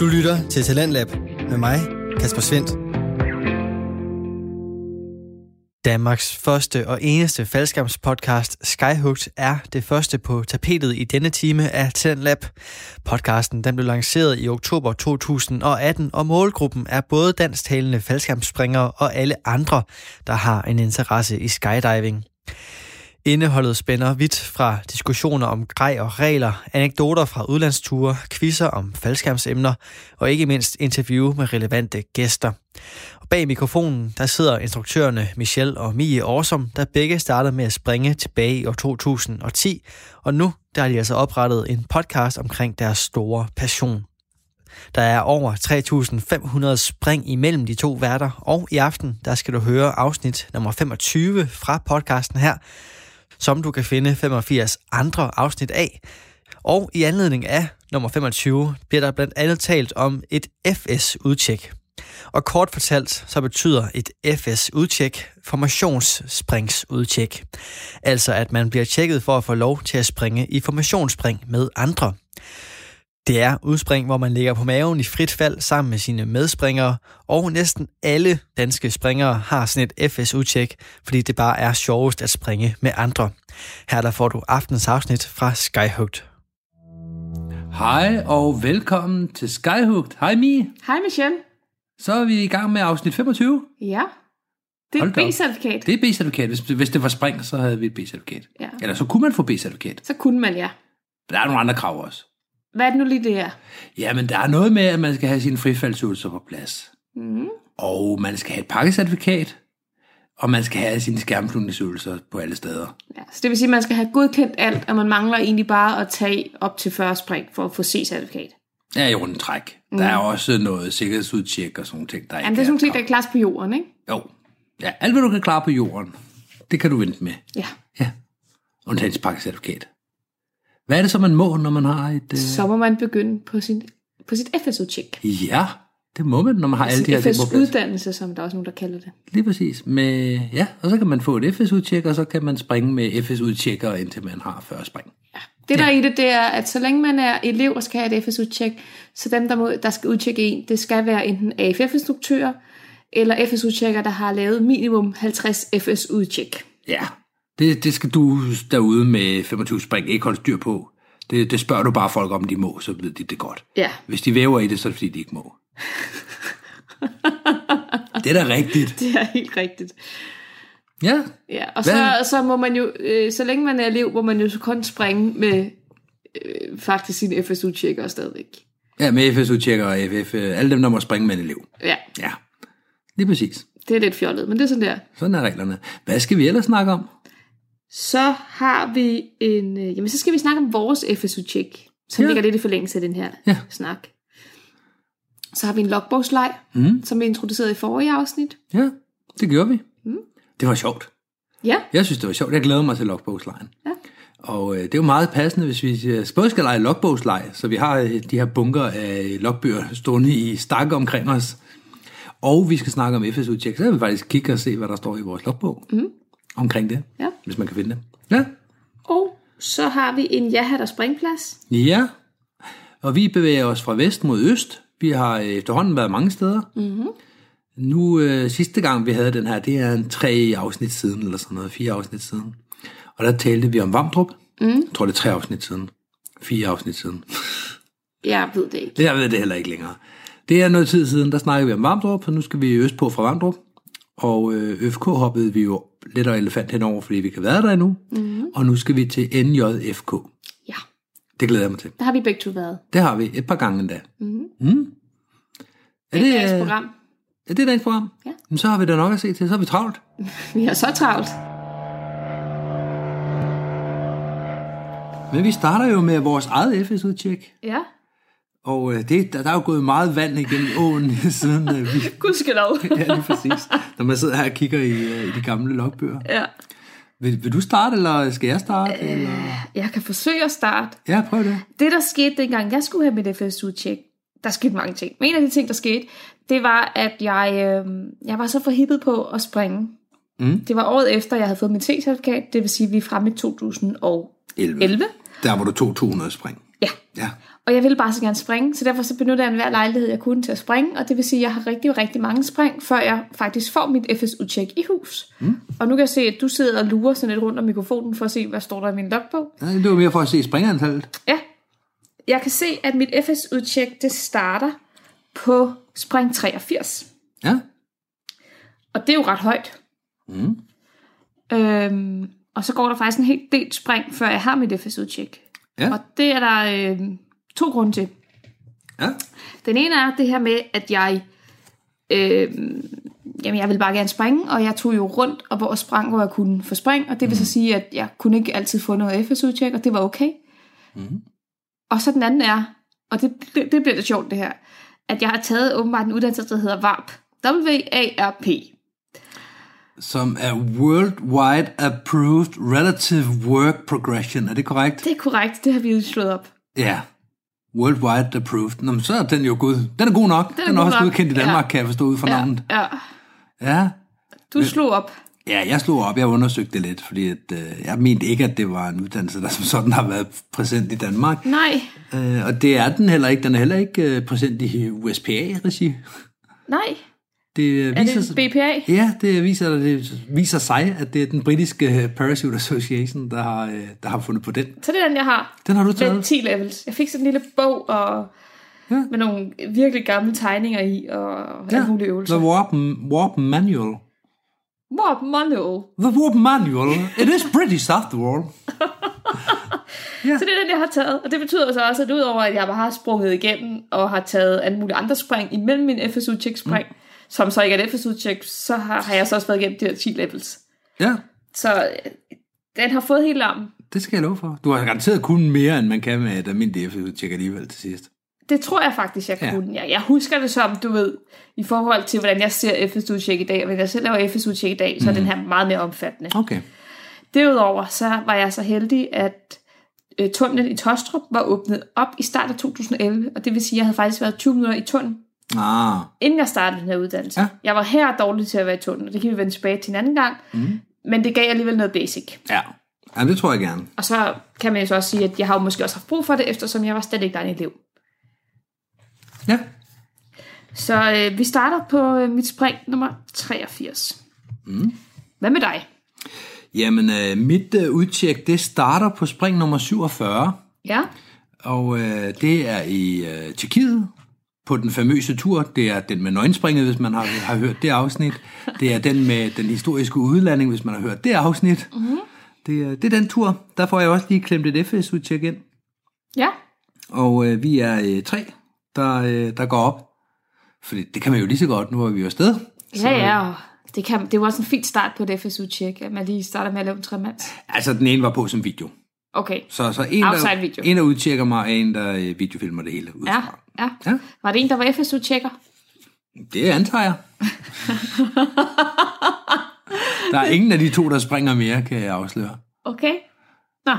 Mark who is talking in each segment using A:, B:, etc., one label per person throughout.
A: Du lytter til Talentlab med mig, Kasper Svendt. Danmarks første og eneste faldskærmspodcast Skyhugt er det første på tapetet i denne time af Talentlab. Podcasten den blev lanceret i oktober 2018, og målgruppen er både dansktalende faldskærmsspringere og alle andre, der har en interesse i skydiving. Indeholdet spænder vidt fra diskussioner om grej og regler, anekdoter fra udlandsture, quizzer om faldskærmsemner og ikke mindst interview med relevante gæster. Og bag mikrofonen der sidder instruktørerne Michelle og Mie Årsom, der begge startede med at springe tilbage i år 2010, og nu der har de altså oprettet en podcast omkring deres store passion. Der er over 3.500 spring imellem de to værter, og i aften der skal du høre afsnit nummer 25 fra podcasten her, som du kan finde 85 andre afsnit af. Og i anledning af nummer 25 bliver der blandt andet talt om et FS-udtjek. Og kort fortalt, så betyder et FS-udtjek formationssspringsudtjek. Altså at man bliver tjekket for at få lov til at springe i formationsspring med andre. Det er udspring, hvor man ligger på maven i frit fald sammen med sine medspringere, og næsten alle danske springere har sådan et FS-udtjek, fordi det bare er sjovest at springe med andre. Her der får du aftens afsnit fra Skyhugt.
B: Hej og velkommen til Skyhugt. Hej Mi.
C: Hej Michelle.
B: Så er vi i gang med afsnit 25.
C: Ja. Det er
B: Hold
C: et
B: da op.
C: B-certifikat.
B: Det er B-certifikat. Hvis, hvis det var spring, så havde vi et B-certifikat.
C: Ja.
B: Eller så kunne man få B-certifikat.
C: Så kunne man, ja.
B: Der er nogle andre krav også.
C: Hvad er det nu lige det er?
B: Ja, men der er noget med, at man skal have sine frifaldsøvelser på plads.
C: Mm.
B: Og man skal have et pakkecertifikat. Og man skal have sine skærmflugningsøvelser på alle steder.
C: Ja, så det vil sige, at man skal have godkendt alt, og man mangler egentlig bare at tage op til 40 spring for at få C-certifikat.
B: Ja, i rundt træk. Mm. Der er også noget sikkerhedsudtjek og sådan nogle ting, der ikke
C: Mm-hmm. Jamen, det er sådan nogle ting, der
B: krav.
C: er klart på jorden, ikke?
B: Jo. Ja, alt hvad du kan klare på jorden, det kan du vente med.
C: Ja.
B: Ja, undtagen til pakkecertifikat. Hvad er det så, man må, når man har et... Øh...
C: Så må man begynde på, sin, på sit FS-udtjek.
B: Ja, det må man, når man har alle de her ting på plads.
C: FS-uddannelse, som der er også nogen, der kalder det.
B: Lige præcis. Med, ja, og så kan man få et FS-udtjek, og så kan man springe med FS-udtjekker, indtil man har 40 spring.
C: Det der er i det, det er, at så længe man er elev og skal have et FS-udtjek, så dem, der, må, der skal udtjekke en, det skal være enten AFF-instruktører, eller FS-udtjekker, der har lavet minimum 50 FS-udtjek.
B: Ja, det, det skal du derude med 25 spring ikke holde styr på. Det, det spørger du bare folk om, de må, så ved de det godt.
C: Ja,
B: Hvis de væver i det, så er det fordi, de ikke må. det er da rigtigt.
C: det er helt rigtigt.
B: Ja,
C: Ja, og
B: Hvad-
C: så, så må man jo, øh, så længe man er elev, må man jo så kun springe med øh, faktisk sine FSU-tjekker stadigvæk.
B: ja med FS-udtjekker og FF, øh, alle dem, der må springe med en elev.
C: Ja,
B: Ja, lige præcis.
C: det er lidt fjollet, men det er sådan der.
B: Sådan er reglerne. Hvad skal vi ellers snakke om?
C: Så har vi en, øh, jamen så skal vi snakke om vores FSU-tjek, som
B: Ja.
C: ja. ligger lidt i forlængelse af den her
B: Ja.
C: ja. snak. Så har vi en logbogsleg,
B: Mm.
C: som vi introducerede i forrige afsnit.
B: Ja, det gjorde vi.
C: Mm.
B: Det var sjovt.
C: Ja,
B: Jeg synes, det var sjovt. Jeg glæder mig til logbogslejen.
C: Ja.
B: Og øh, det er jo meget passende, hvis vi øh, både skal lege logbogslej, så vi har øh, de her bunker af logbøger stående i stak omkring os, og vi skal snakke om FSU-tjek, så vil vi faktisk kigge og se, hvad der står i vores logbog mm. omkring det,
C: Ja.
B: hvis man kan finde det. Ja.
C: og så har vi en ja-hat og springplads.
B: Ja, og vi bevæger os fra vest mod øst. Vi har øh, efterhånden været mange steder. Mm-hmm. Nu øh, sidste gang, vi havde den her, det er en tre afsnit siden, eller sådan noget, fire afsnit siden. Og der talte vi om Vamdrup. Mm. Jeg tror, det er tre afsnit siden. Fire afsnit siden.
C: Jeg ved det ikke.
B: Jeg ved det heller ikke længere. Det er noget tid siden, der snakkede vi om Vamdrup, så nu skal vi øst på fra Vamdrup. Og øh, FK hoppede vi jo lidt og elefant henover, fordi vi ikke har været der endnu. Mm-hmm. Og nu skal vi til NJFK.
C: Ja,
B: Det glæder jeg mig til.
C: der har vi begge to været.
B: Det har vi et par gange endda.
C: Mm-hmm.
B: Mm. Er
C: Det,
B: det,
C: er
B: øh,
C: et program.
B: er det dagens program?
C: Ja.
B: Men så har vi da nok at se til, så har vi travlt.
C: Vi har så travlt.
B: Men vi starter jo med vores eget FS-udtjek,
C: Ja,
B: og øh, det, der, der er jo gået meget vand igennem åen, siden øh, vi...
C: gudskelov.
B: Ja, lige præcis. Når man sidder her og kigger i, øh, i de gamle logbøger.
C: ja.
B: Vil, vil du starte, eller skal jeg starte? Øh... Eller?
C: Jeg kan forsøge at starte.
B: Ja, prøv det.
C: Det, der skete dengang, jeg skulle have mit FSU-tjek, der skete mange ting. Men en af de ting, der skete, det var, at jeg, øh, jeg var så forhippet på at springe.
B: Mm.
C: Det var året efter, jeg havde fået mit C-certifikat, det vil sige, at vi er fremme i 2011.
B: 11. Der var du 200 spring.
C: Ja,
B: Ja.
C: og Og jeg ville bare så gerne springe, så derfor så benyttede jeg enhver lejlighed, jeg kunne til at springe, og det vil sige, at jeg har rigtig, rigtig mange spring, før jeg faktisk får mit FSU-tjek i hus. Mm. Og nu kan jeg se, at du sidder og lurer sådan lidt rundt om mikrofonen for at se, hvad står der i min logbog.
B: Nej, Det var mere for at se springerantallet.
C: Ja, jeg kan se, at mit FSU-tjek, det starter på spring 83.
B: Ja.
C: Og det er jo ret højt. Mm. Øhm, og så går der faktisk en helt del spring, før jeg har mit FSU-tjek.
B: Ja.
C: Og det er der øh, to grunde til.
B: Ja.
C: Den ene er det her med, at jeg... Øh, jamen, jeg ville bare gerne springe, og jeg tog jo rundt, og hvor jeg sprang, hvor jeg kunne få spring, og det vil så sige, at jeg kunne ikke altid få noget FSU-tjek, og det var okay. Mm. Og så den anden er, og det, det, det bliver lidt sjovt det her, at jeg har taget åbenbart en uddannelse, der hedder VARP. W-A-R-P.
B: Som er Worldwide Approved Relative Work Progression. Er det korrekt?
C: Det er korrekt, det har vi jo slået op.
B: Ja. Worldwide Approved. Nå, men så er den jo god. Den er god nok. Den
C: er
B: er, den er
C: god
B: også
C: nok.
B: godkendt i Danmark,
C: Ja.
B: ja. kan jeg forstå ud fra ja. navnet.
C: Ja,
B: Ja.
C: du slog op.
B: Ja, jeg slog op. Jeg undersøgte det lidt, fordi at, øh, jeg mente ikke, at det var en uddannelse, der som sådan har været præsent i Danmark.
C: Nej,
B: Øh, og det er den heller ikke. Den er heller ikke øh, præsent i USPA-regi.
C: nej.
B: Det, øh,
C: Er det
B: viser,
C: en BPA?
B: Ja, det viser, det viser sig, at det er den britiske øh, Parachute Association, der har, øh, der har fundet på den.
C: Så det er den, jeg har.
B: Den har du
C: med
B: taget.
C: 10 levels. Jeg fik sådan en lille bog og ja. med nogle virkelig gamle tegninger i og ja. alle mulige øvelser.
B: The Warp, Warp Manual.
C: Warp Mono.
B: The Warp Manual. It is British after all.
C: Så det er den, jeg har taget. Og det betyder så også, at udover at jeg bare har sprunget igennem og har taget alle mulige andre spring imellem min fsu check spring mm. som så ikke er et fsu check så har, har jeg så også været igennem de her 10 levels.
B: Ja,
C: Så øh, den har fået helt larmen.
B: det skal jeg love for. Du har garanteret kun mere, end man kan med et almindeligt FU-tjek alligevel til sidst.
C: Det tror jeg faktisk, jeg
B: Ja.
C: kunne. Jeg, jeg husker det som, du ved, i forhold til, hvordan jeg ser FSU-check i dag. Og hvis jeg selv laver FSU-check i dag, så er den her meget mere omfattende.
B: Okay.
C: Derudover så var jeg så heldig, at øh, tunnelen i Tostrup var åbnet op i starten af 2011, og det vil sige, at jeg havde faktisk været 20 minutter i tunnelen,
B: Ah,
C: inden jeg startede den her uddannelse.
B: Ja.
C: Jeg var her dårlig til at være i tunnelen, og det kan vi vende tilbage til en anden gang, mm. men det gav alligevel noget basic.
B: ja. Jamen, det tror jeg gerne.
C: Og så kan man jo så også sige, at jeg har jo måske også haft brug for det, eftersom jeg var slet ikke der i elev.
B: Ja.
C: Så øh, vi starter på øh, mit spring nummer 83. Mm. Hvad med dig?
B: Jamen, øh, mit øh, udtjek, det starter på spring nummer 47.
C: Ja,
B: Og øh, det er i øh, Tjekkiet på den famøse tur. Det er den med nøgenspringet, hvis man har, har hørt det afsnit. Det er den med den historiske udlanding, hvis man har hørt det afsnit. Mm-hmm.
C: Mhm.
B: Det, er, det er den tur. Der får jeg også lige klemt et FS-udtjek ind.
C: ja,
B: Og øh, vi er øh, tre, der, øh, der går op. Fordi det kan man jo lige så godt, nu var vi jo afsted.
C: ja, ja. og Det, kan, det var også en fin start på et FSU-check, at man lige starter med at lave en tremands.
B: Altså, den ene var på som video.
C: Okay.
B: Så, så en, der,
C: Outside video.
B: en, der udtjekker mig, og en, der øh, videofilmer det hele.
C: Ja,
B: udefra.
C: ja.
B: Ja.
C: Var det en, der var FSU-tjekker?
B: Det antager jeg. der er ingen af de to, der springer mere, kan jeg afsløre.
C: Okay. Nå,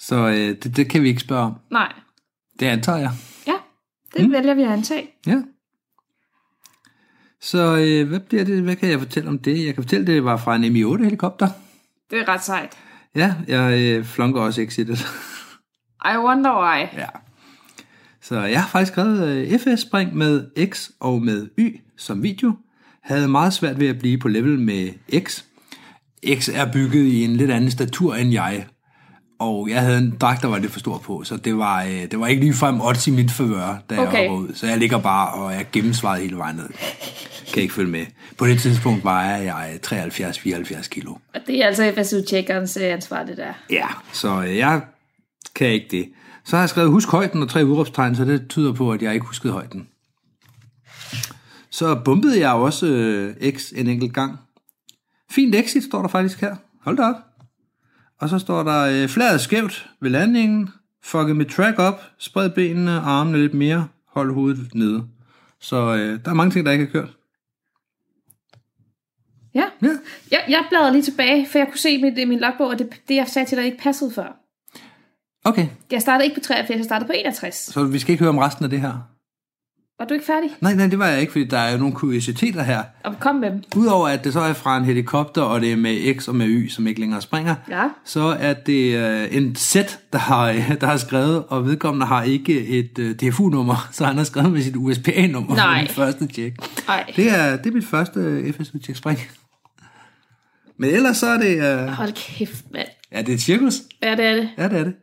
B: Så øh, det, det kan vi ikke spørge om.
C: nej.
B: Det antager jeg.
C: Ja, det mm. vælger vi at antage.
B: Ja. Så øh, hvad bliver det? Hvad kan jeg fortælle om det? Jeg kan fortælle, det var fra en Mi-8-helikopter.
C: Det er ret sejt.
B: Ja, jeg øh, flunker også exitet.
C: I wonder why.
B: ja. Så jeg har faktisk skrevet øh, FS-spring med X og med Y som video. Havde meget svært ved at blive på level med X. X er bygget i en lidt anden statur end jeg. Og jeg havde en dragt, der var lidt for stor på, så det var, øh, det var ikke ligefrem odds i mit favør, da okay.
C: Okay.
B: jeg var ud. Så jeg ligger bare og er gennemsvaret hele vejen ned. Kan ikke følge med. På det tidspunkt vejer jeg 73-74 kilo.
C: Og det er altså FSU-tjekkerens øh, ansvar, det der.
B: Ja, så øh, jeg kan ikke det. Så har jeg skrevet husk højden og tre udråbstegn, så det tyder på, at jeg ikke huskede højden. Så bumpede jeg også øh, X en enkelt gang. Fint exit står der faktisk her. Hold da op. Og så står der øh, fladet skævt ved landingen. Fucket med track op. Spred benene og armene lidt mere. Hold hovedet nede. Så øh, der er mange ting, der ikke er kørt.
C: Ja.
B: Ja.
C: Jeg, jeg bladrede lige tilbage, for jeg kunne se mit, øh, min logbog, og det, det, jeg sagde til dig, ikke passede før.
B: Okay,
C: Jeg startede ikke på 83, jeg startede på 61.
B: så vi skal ikke høre om resten af det her.
C: Var du ikke færdig?
B: Nej, nej, det var jeg ikke, fordi der er jo nogle kuriositeter her.
C: Og kom med dem.
B: Udover at det så er fra en helikopter, og det er med X og med Y, som ikke længere springer,
C: Ja.
B: så er det øh, en Z, der har, øh, der har skrevet, og vedkommende har ikke et øh, DFU-nummer, så han har skrevet med sit USPA-nummer
C: Nej.
B: på mit første tjek.
C: Ej,
B: Det er, det er mit første øh, FSU-tjek spring. Men ellers så er det... Øh,
C: hold kæft, mand.
B: ja, det er et cirkus.
C: Ja, det er det.
B: Ja, det er det.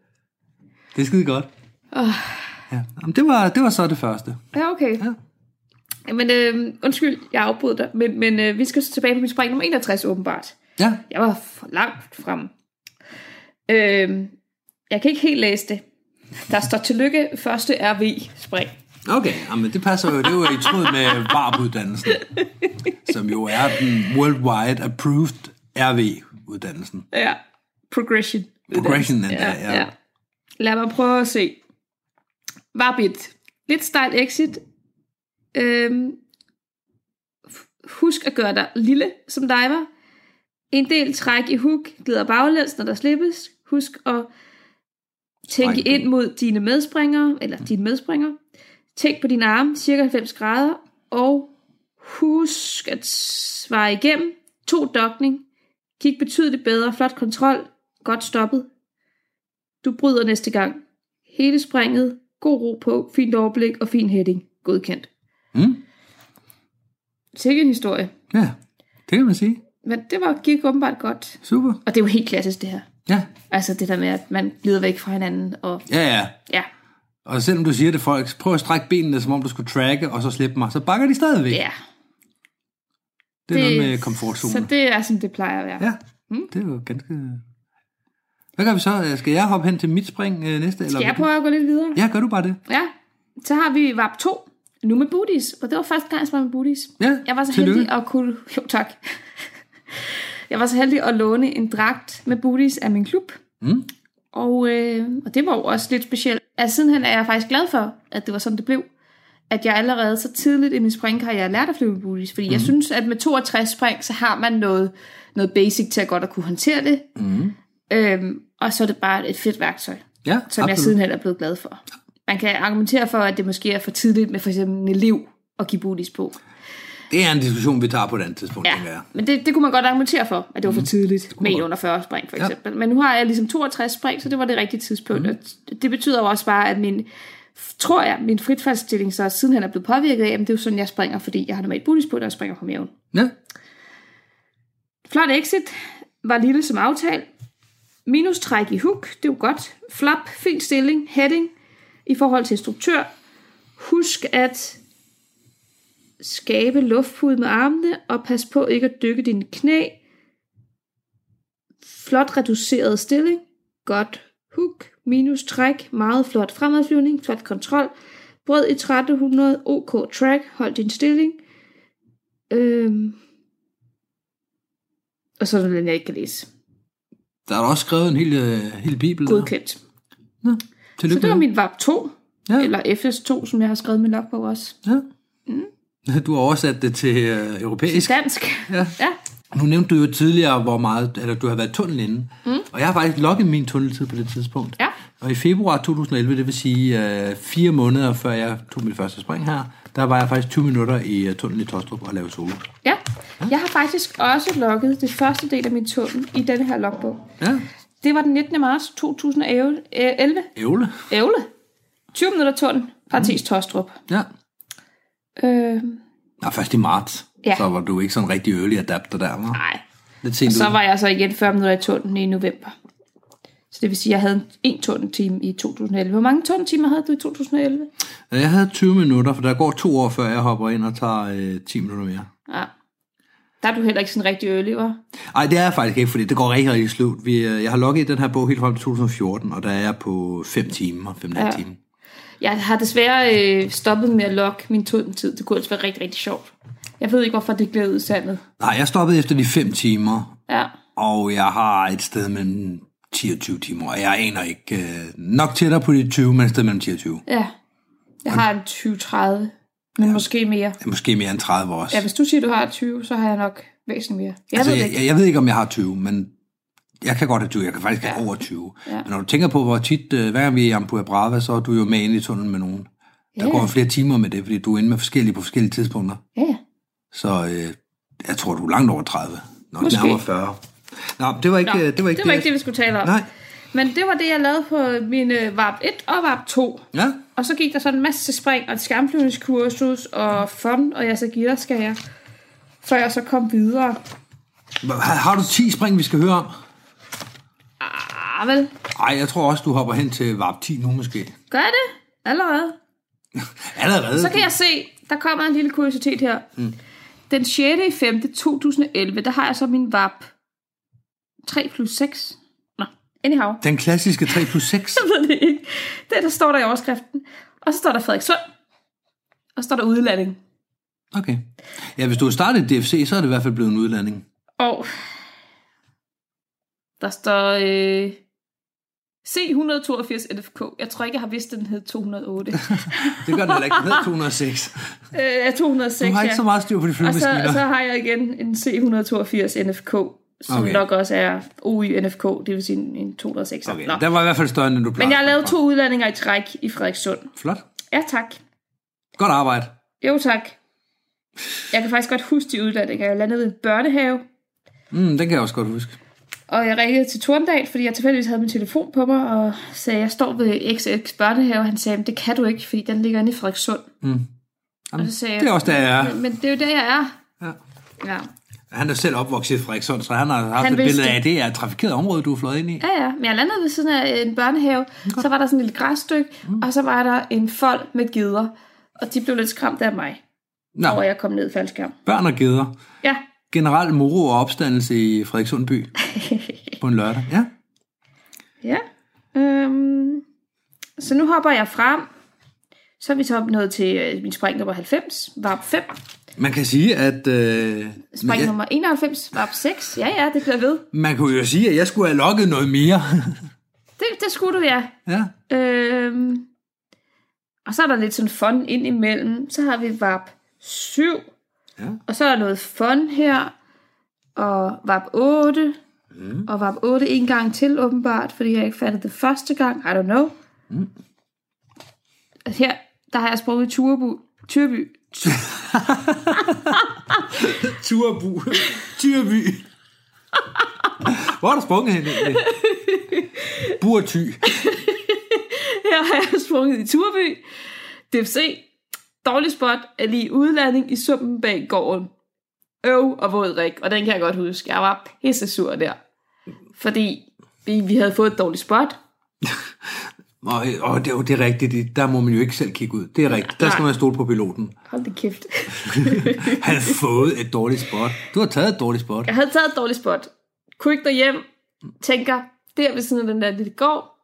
B: Det er skide godt.
C: Åh.
B: Ja. Jamen, det, var, det var så det første.
C: Ja, okay. Ja. Men øh, undskyld, jeg afbrød dig, men, men øh, vi skal så tilbage på min spring nummer 61 åbenbart.
B: Ja,
C: Jeg var for langt frem. Øh, jeg kan ikke helt læse det. Der står tillykke, første RV-spring.
B: Okay, jamen det passer jo. Det er jo i tråd med VARP-uddannelsen, som jo er den worldwide approved RV-uddannelsen.
C: Ja, progression.
B: Progression endda, ja.
C: Lad mig prøve at se. Varbit. Lidt stejl exit. Øhm, f- husk at gøre dig lille som diver. En del træk i hook, glider baglæns, når der slippes. Husk at tænke
B: Træk.
C: ind mod dine medspringere, eller dine medspringere. Tænk på dine arme, cirka 90 grader, og husk at svare igennem. To dokning. Kig betydeligt bedre, flot kontrol, godt stoppet, du bryder næste gang. Hele springet, god ro på, fint overblik og fin heading. Godkendt.
B: Mm.
C: Sikke en historie.
B: Ja, det kan man sige.
C: Men det var, gik åbenbart godt.
B: Super.
C: Og det er jo helt klassisk det her.
B: Ja,
C: Altså det der med, at man glider væk fra hinanden. Og
B: ja, ja.
C: ja,
B: Og selvom du siger det, folk, prøv at strække benene, som om du skulle tracke, og så slippe mig, så bakker de stadigvæk.
C: ja.
B: det er noget med komfortzonen.
C: Så det er, som det Mm. plejer at være.
B: Ja, det er jo ganske... Hvad gør vi så? Skal jeg hoppe hen til mit spring øh, næste?
C: Skal jeg
B: vil du-
C: prøve at gå lidt videre?
B: Ja, gør du bare det.
C: ja. Så har vi VAP 2. Nu med booties. Og det var første gang, jeg sprang med booties.
B: Ja,
C: Jeg var så
B: tillykke.
C: heldig at kunne... Jo, tak. Jeg var så heldig at låne en dragt med booties af min klub.
B: Mm.
C: Og, øh, og det var jo også lidt specielt. Altså sidenhen er jeg faktisk glad for, at det var sådan, det blev. At jeg allerede så tidligt i min springkarriere lærte at flyve med booties. Fordi mm. jeg synes, at med 62 spring, så har man noget, noget basic til at godt at kunne håndtere det. Mm. Øhm, og så er det bare et fedt værktøj,
B: Ja,
C: som Absolut. jeg sidenhen er blevet glad for. Man kan argumentere for, at det måske er for tidligt med for eksempel en elev at give booties på.
B: Det er en diskussion, vi tager på et andet tidspunkt, ja. tænker
C: Ja,
B: jeg.
C: men det, det kunne man godt argumentere for, at det var for tidligt med en under 40 spring for
B: Ja.
C: eksempel. Men nu har jeg ligesom 62 spring, så det var det rigtige tidspunkt. Mm. Og det betyder jo også bare, at min, tror jeg, min fritfaldsstilling så siden han er blevet påvirket af, at det er jo sådan, jeg springer, fordi jeg har normalt booties på, der springer på maven.
B: Ja,
C: Flot exit var lille som aftalt. Minus træk i hook, det er jo godt. Flap, fin stilling, heading i forhold til instruktør. Husk at skabe luftpude med armene, og pas på ikke at dykke dine knæ. Flot reduceret stilling, godt hook, minus træk, meget flot fremadflyvning, flot kontrol. Brød i 1300, OK track, hold din stilling. Øhm, og så er der den, jeg ikke kan læse.
B: Der er da også skrevet en hel, øh, hel bibel. der.
C: Godkendt.
B: Ja, tillykke
C: Så det var
B: med
C: min VAP 2,
B: Ja.
C: ja. eller FS2, som jeg har skrevet i min logbog også.
B: det.
C: Mm.
B: Ja. Du har oversat det til øh, europæisk.
C: Dansk.
B: Ja.
C: ja.
B: Nu nævnte du jo tidligere, hvor meget eller du har været i tunnel inde. Mm. Og jeg har faktisk logget min tunneltid på det tidspunkt.
C: Ja.
B: Og i februar 2011, det vil sige øh, fire måneder før jeg tog mit første spring her, der var jeg faktisk 20 minutter i øh, tunnelen i Tostrup og lavede solo.
C: ja. Jeg har faktisk også logget det første del af min tunnel i denne her logbog.
B: Ja,
C: Det var den 19. marts 2011.
B: ævle.
C: Ævle. 20 minutter tunnel.
B: Mm.
C: Partis Tostrup.
B: Ja.
C: Øh,
B: Nå, først i marts.
C: Ja.
B: Så var du ikke sådan rigtig early adapter der, var?
C: nej.
B: Lidt sent
C: Så
B: ud.
C: var jeg så igen 40 minutter i tunnelen i november. Så det vil sige, at jeg havde en tunneltime i 2011. Hvor mange tunneltimer havde du i 2011?
B: Ja, Jeg havde 20 minutter, for der går to år, før jeg hopper ind og tager øh, 10 minutter mere.
C: Ja. Der er du heller ikke sådan rigtig early, var?
B: Nej, det er jeg faktisk ikke, fordi det går rigtig, rigtig sløvt. Vi, øh, jeg har logget den her bog helt frem til 2014, og der er jeg på 5 timer, 5 ja.
C: Ja.
B: timer.
C: Jeg har desværre øh, stoppet med at logge min tunneltid. Det kunne altså være rigtig, rigtig sjovt. Jeg ved ikke, hvorfor det glæder ud i sandet.
B: Nej, jeg stoppede efter de 5 timer,
C: Ja.
B: og jeg har et sted mellem 10 og 20 timer, og jeg aner ikke øh, nok tættere på de 20, men et sted mellem 10 og 20.
C: ja. Jeg har en 20-30, men ja. måske mere.
B: Ja, Måske mere end 30 også.
C: Ja, hvis du siger, du har 20, så har jeg nok væsentligt mere. Jeg
B: altså,
C: altså, ved det
B: jeg,
C: ikke.
B: jeg, jeg ved ikke, om jeg har 20, men jeg kan godt have 20. Jeg kan faktisk have over 20.
C: Ja.
B: Men når du tænker på, hvor tit, øh, hver gang vi er i Ampua Brava, så er du jo med ind i tunnelen med nogen. Der går flere timer med det, fordi du er inde med forskellige på forskellige tidspunkter.
C: Ja, ja.
B: Så øh, jeg tror, du er langt over 30. Nok
C: Måske.
B: nærmere 40. Nå, det var ikke,
C: Nå,
B: øh, det, var ikke
C: det, var ikke det, vi skulle tale om.
B: Nej.
C: Men det var det, jeg lavede på min øh, VARP 1 og VARP 2.
B: Ja,
C: Og så gik der sådan en masse spring og et skærmflyvningskursus og fun, og jeg så gider skal jeg. Før jeg så kom videre.
B: Hva- har, har du 10 spring, vi skal høre om?
C: Ah, vel?
B: Ej, jeg tror også, du hopper hen til varp 10 nu måske.
C: Gør jeg det? Allerede?
B: Allerede.
C: Så kan jeg se, der kommer en lille kuriositet her. Mm. Den 6. i 5. 2011, der har jeg så min VAP 3 plus 6. Nå, anyhow.
B: Den klassiske 3 plus 6.
C: Jeg ved det ikke. Det der står der i overskriften. Og så står der Frederikssund. Og så står der udlanding.
B: Okay. Ja, hvis du har startet i DFC, så er det i hvert fald blevet en udlanding.
C: Og der står øh, C182 LFK. Jeg tror ikke, jeg har vidst, at den hed 208. øh,
B: Det gør den heller ikke. Den hedder 206.
C: ja, 206,
B: Du har ikke
C: ja.
B: så meget styr på de
C: Og så,
B: flyvemaskiner.
C: så har jeg igen en C182 NFK, som
B: Okay.
C: okay. nok også er OY NFK, det vil sige en en 206.
B: Okay,
C: Nå.
B: den var i hvert fald større, end du plejede.
C: Men jeg har lavet to udlandinger i træk i Frederikssund.
B: Flot.
C: Ja, tak.
B: Godt arbejde.
C: Jo, tak. Jeg kan faktisk godt huske de udlandinger. Jeg landede i en børnehave,
B: Mm, den kan jeg også godt huske.
C: Og jeg ringede til Torndal, fordi jeg tilfældigvis havde min telefon på mig, og sagde, jeg står ved XX børnehave, og han sagde, "Men det kan du ikke, fordi den ligger inde i Frederikssund.
B: Jamen,
C: så sagde
B: Mm. det er
C: jeg-
B: også, der jeg er.
C: Men, men det er jo der, jeg er.
B: Ja.
C: Ja,
B: Han er selv opvokset i Frederikssund, så han har haft
C: Han
B: et
C: vidste
B: billede af,
C: det.
B: at det er et trafikeret område, du er fløjet ind i.
C: ja, ja. Men jeg landede ved siden af en børnehave, så var der sådan et lille græsstykke, og så var der en fold med gider, og de blev lidt skræmt af mig,
B: Nå,
C: hvor jeg kom ned i faldskærm.
B: børn og geder.
C: Ja,
B: Generel moro og opstandelse i Frederikssund by på en lørdag. Ja,
C: ja. Øhm, så nu hopper jeg frem. Så er vi så nået til øh, min spring nummer 90, varp 5.
B: man kan sige, at... Øh, men
C: Spring
B: jeg-
C: nummer 91, varp 6. Ja, ja, det bliver ved.
B: man kunne jo sige, at jeg skulle have logget noget mere.
C: Det, det skulle du, ja.
B: ja.
C: Øhm, og så er der lidt sådan fun ind imellem. Så har vi VAP 7.
B: Ja.
C: Og så er der noget fun her. Og VAP 8. Mm. Og VAP 8 en gang til, åbenbart, fordi jeg ikke fattede det første gang. I don't know. Mm. Her, der har jeg sproget i Turbu. Tyrby.
B: Turbu. Tyrby. Hvor er du sprunget hen egentlig? Burty.
C: Her har jeg sprunget i Turby. DFC. Dårlig spot er lige udlanding i sumpen bag gården. Øv og våd rig, og den kan jeg godt huske. Jeg var pisse sur der. Fordi vi, vi havde fået et dårligt spot.
B: Og, og det, er jo- det er rigtigt, der må man jo ikke selv kigge ud. Det er rigtigt, der skal man stole på piloten.
C: Hold da kæft.
B: Han har fået et dårligt spot. Du har taget et dårligt spot.
C: Jeg havde taget et dårligt spot. Kunne ikke derhjem. Tænker, der ved siden af den der lille gård.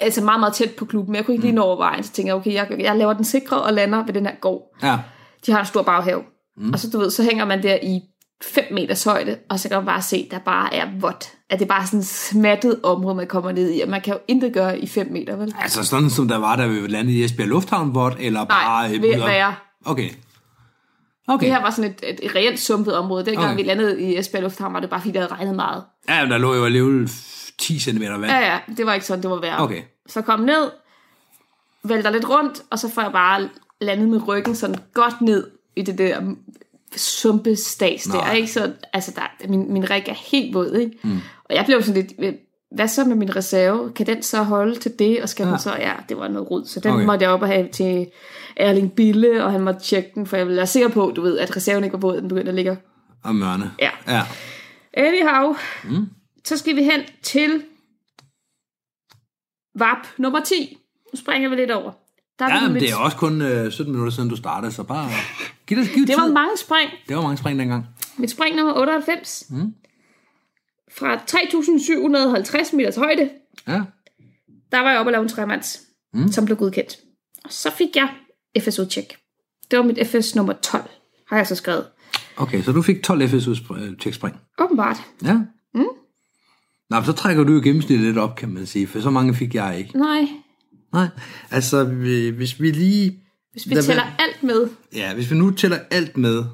C: Altså meget, meget tæt på klubben. Jeg kunne ikke lige nå over vejen. Så tænker jeg, okay, jeg, jeg laver den sikre og lander ved den her gård.
B: Ja.
C: de har en stor baghave. Mm. Og så, du ved, så hænger man der i 5 meters højde, og så kan man bare se, der bare er vådt. At det er bare sådan et smattet område, man kommer ned i, og man kan jo intet gøre i 5 meter, vel?
B: Altså sådan som der var, da vi landede i Esbjerg Lufthavn, vort, eller bare...
C: Nej,
B: øh,
C: ved at
B: ude-
C: være.
B: Okay.
C: Det
B: Okay.
C: her var sådan et, et, et reelt sumpet område. Dengang
B: Okay.
C: okay. vi landede i Esbjerg Lufthavn, var det bare fordi, der havde regnet meget.
B: Ja, men der lå jo alligevel 10 cm vand.
C: Ja, ja, det var ikke sådan, det var værre.
B: Okay.
C: Så kom ned, vælter lidt rundt, og så får jeg bare landet med ryggen sådan godt ned i det der sumpestas der,
B: Nej.
C: ikke? Så, altså, der, min, min rig er helt våd, ikke? Mm. Og jeg blev sådan lidt, øh, hvad så med min reserve? Kan den så holde til det? Og skal ja. den så, ja, det var noget rod, så den
B: Okay.
C: okay. måtte jeg op og have til Erling Bille, og han måtte tjekke den, for jeg ville være sikker på, du ved, at reserven ikke var våd, den begyndte at ligge. og-
B: Og mørne.
C: Ja.
B: ja.
C: Anyhow, mm. så skal vi hen til VAP nummer 10. Nu springer vi lidt over. Der er vi
B: Ja, men
C: lidt-
B: det er også kun øh, 17 minutter siden, du startede, så bare giv det, giv
C: det
B: tid.
C: var mange spring.
B: det var mange spring dengang.
C: Mit spring nummer 98. Mm. Fra 3.750 meters højde,
B: Ja.
C: der var jeg oppe og lave en tremands, mm. som blev godkendt. Og så fik jeg FSU-tjek. Det var mit FS nummer 12, har jeg så skrevet.
B: Okay, så du fik 12 FSU-tjekspring.
C: Åbenbart.
B: øh, Ja. Mm. Nå, men så trækker du jo gennemsnittet lidt op, kan man sige, for så mange fik jeg ikke.
C: Nej,
B: Nej, altså vi- hvis vi lige...
C: hvis vi
B: Hvad-
C: tæller alt med
B: Ja, hvis vi nu tæller alt med,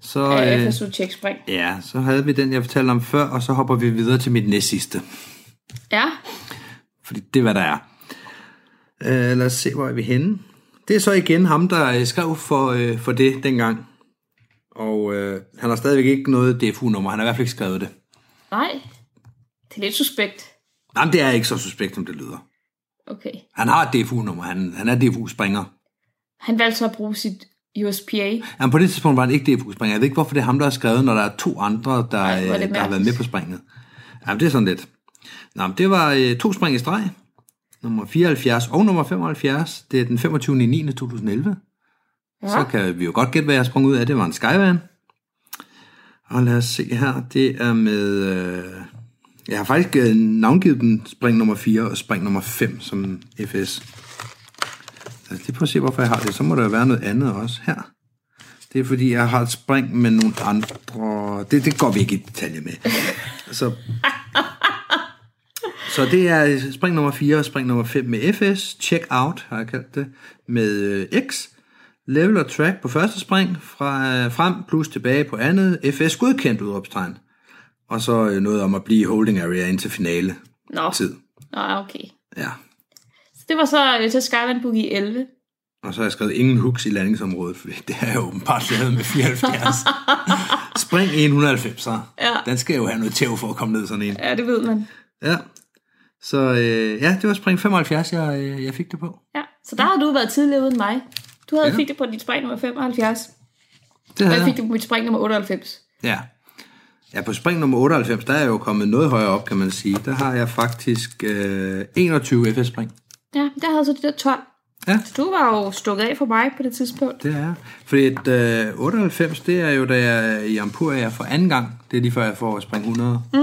B: så...
C: af
B: øh,
C: FSU-tjekspring.
B: ja, så havde vi den, jeg fortalte om før, og så hopper vi videre til mit næstsidste.
C: Ja,
B: Fordi det er, hvad der er. Øh, lad os se, hvor er vi henne. Det er så igen ham, der øh, skrev for, øh, for det dengang. Og øh, han har stadigvæk ikke noget DFU-nummer. Han har i hvert fald ikke skrevet det.
C: Nej, det er lidt suspekt.
B: Jamen, det er ikke så suspekt, som det lyder.
C: Okay.
B: Han har et DFU-nummer. Han, han er DFU-springer.
C: Han valgte så at bruge sit USPA.
B: Jamen, på det tidspunkt var han ikke DFU-springer. Jeg ved ikke, hvorfor det er ham, der har skrevet, når der er to andre, der,
C: Ej, hvor er
B: Ej,
C: det
B: der har været med
C: mærkeligt.
B: på springet. Jamen, det er sådan lidt. Nå, men det var øh, to spring i streg. Nummer 74 og nummer 75. Det er den 25. 9. 2011.
C: Ja.
B: Så kan vi jo godt gætte, hvad jeg sprang ud af. Det var en Skyvan. Og lad os se her. Det er med... Øh, jeg har faktisk øh, navngivet den spring nummer 4 og spring nummer 5 som FS. Lad os lige prøve at se, hvorfor jeg har det. Så må der jo være noget andet også her. Det er fordi, jeg har et spring med nogle andre... Det, det går vi ikke i detalje med. Så, så det er spring nummer 4 og spring nummer 5 med FS. Check out, har jeg kaldt det, med øh, X. Level og track på første spring, fra, øh, frem plus tilbage på andet. FS godkendt udråbstegn. Og så øh, noget om at blive i holding area indtil finale
C: Nå.
B: tid.
C: Nå, okay.
B: Ja.
C: Så det var så øh, til Skyland Boogie 11.
B: Og så har jeg skrevet ingen hooks i landingsområdet, for det har jeg åbenbart lavet med 74. Spring 190, ja.
C: Ja.
B: Den skal jo have noget tæv for at komme ned sådan en.
C: Ja, det ved man.
B: Ja. Så øh, ja, det var spring 75, jeg, øh, jeg fik det på.
C: Ja. Så der har du været tidligere uden mig. Du havde
B: Ja.
C: ja. fik det på dit spring nummer 75,
B: Det
C: og
B: havde
C: jeg fik
B: jeg.
C: det på mit spring nummer 98.
B: Ja. Ja, på spring nummer 98, der er jeg jo kommet noget højere op, kan man sige. Der har jeg faktisk øh, 21 FS-spring.
C: Ja, der havde så de der 12.
B: Ja.
C: Så du var jo stukket af for mig på det tidspunkt.
B: Det er jeg. Fordi at, øh, 98, det er jo da jeg i Ampuria for anden gang. Det er lige før jeg får spring 100. Mm.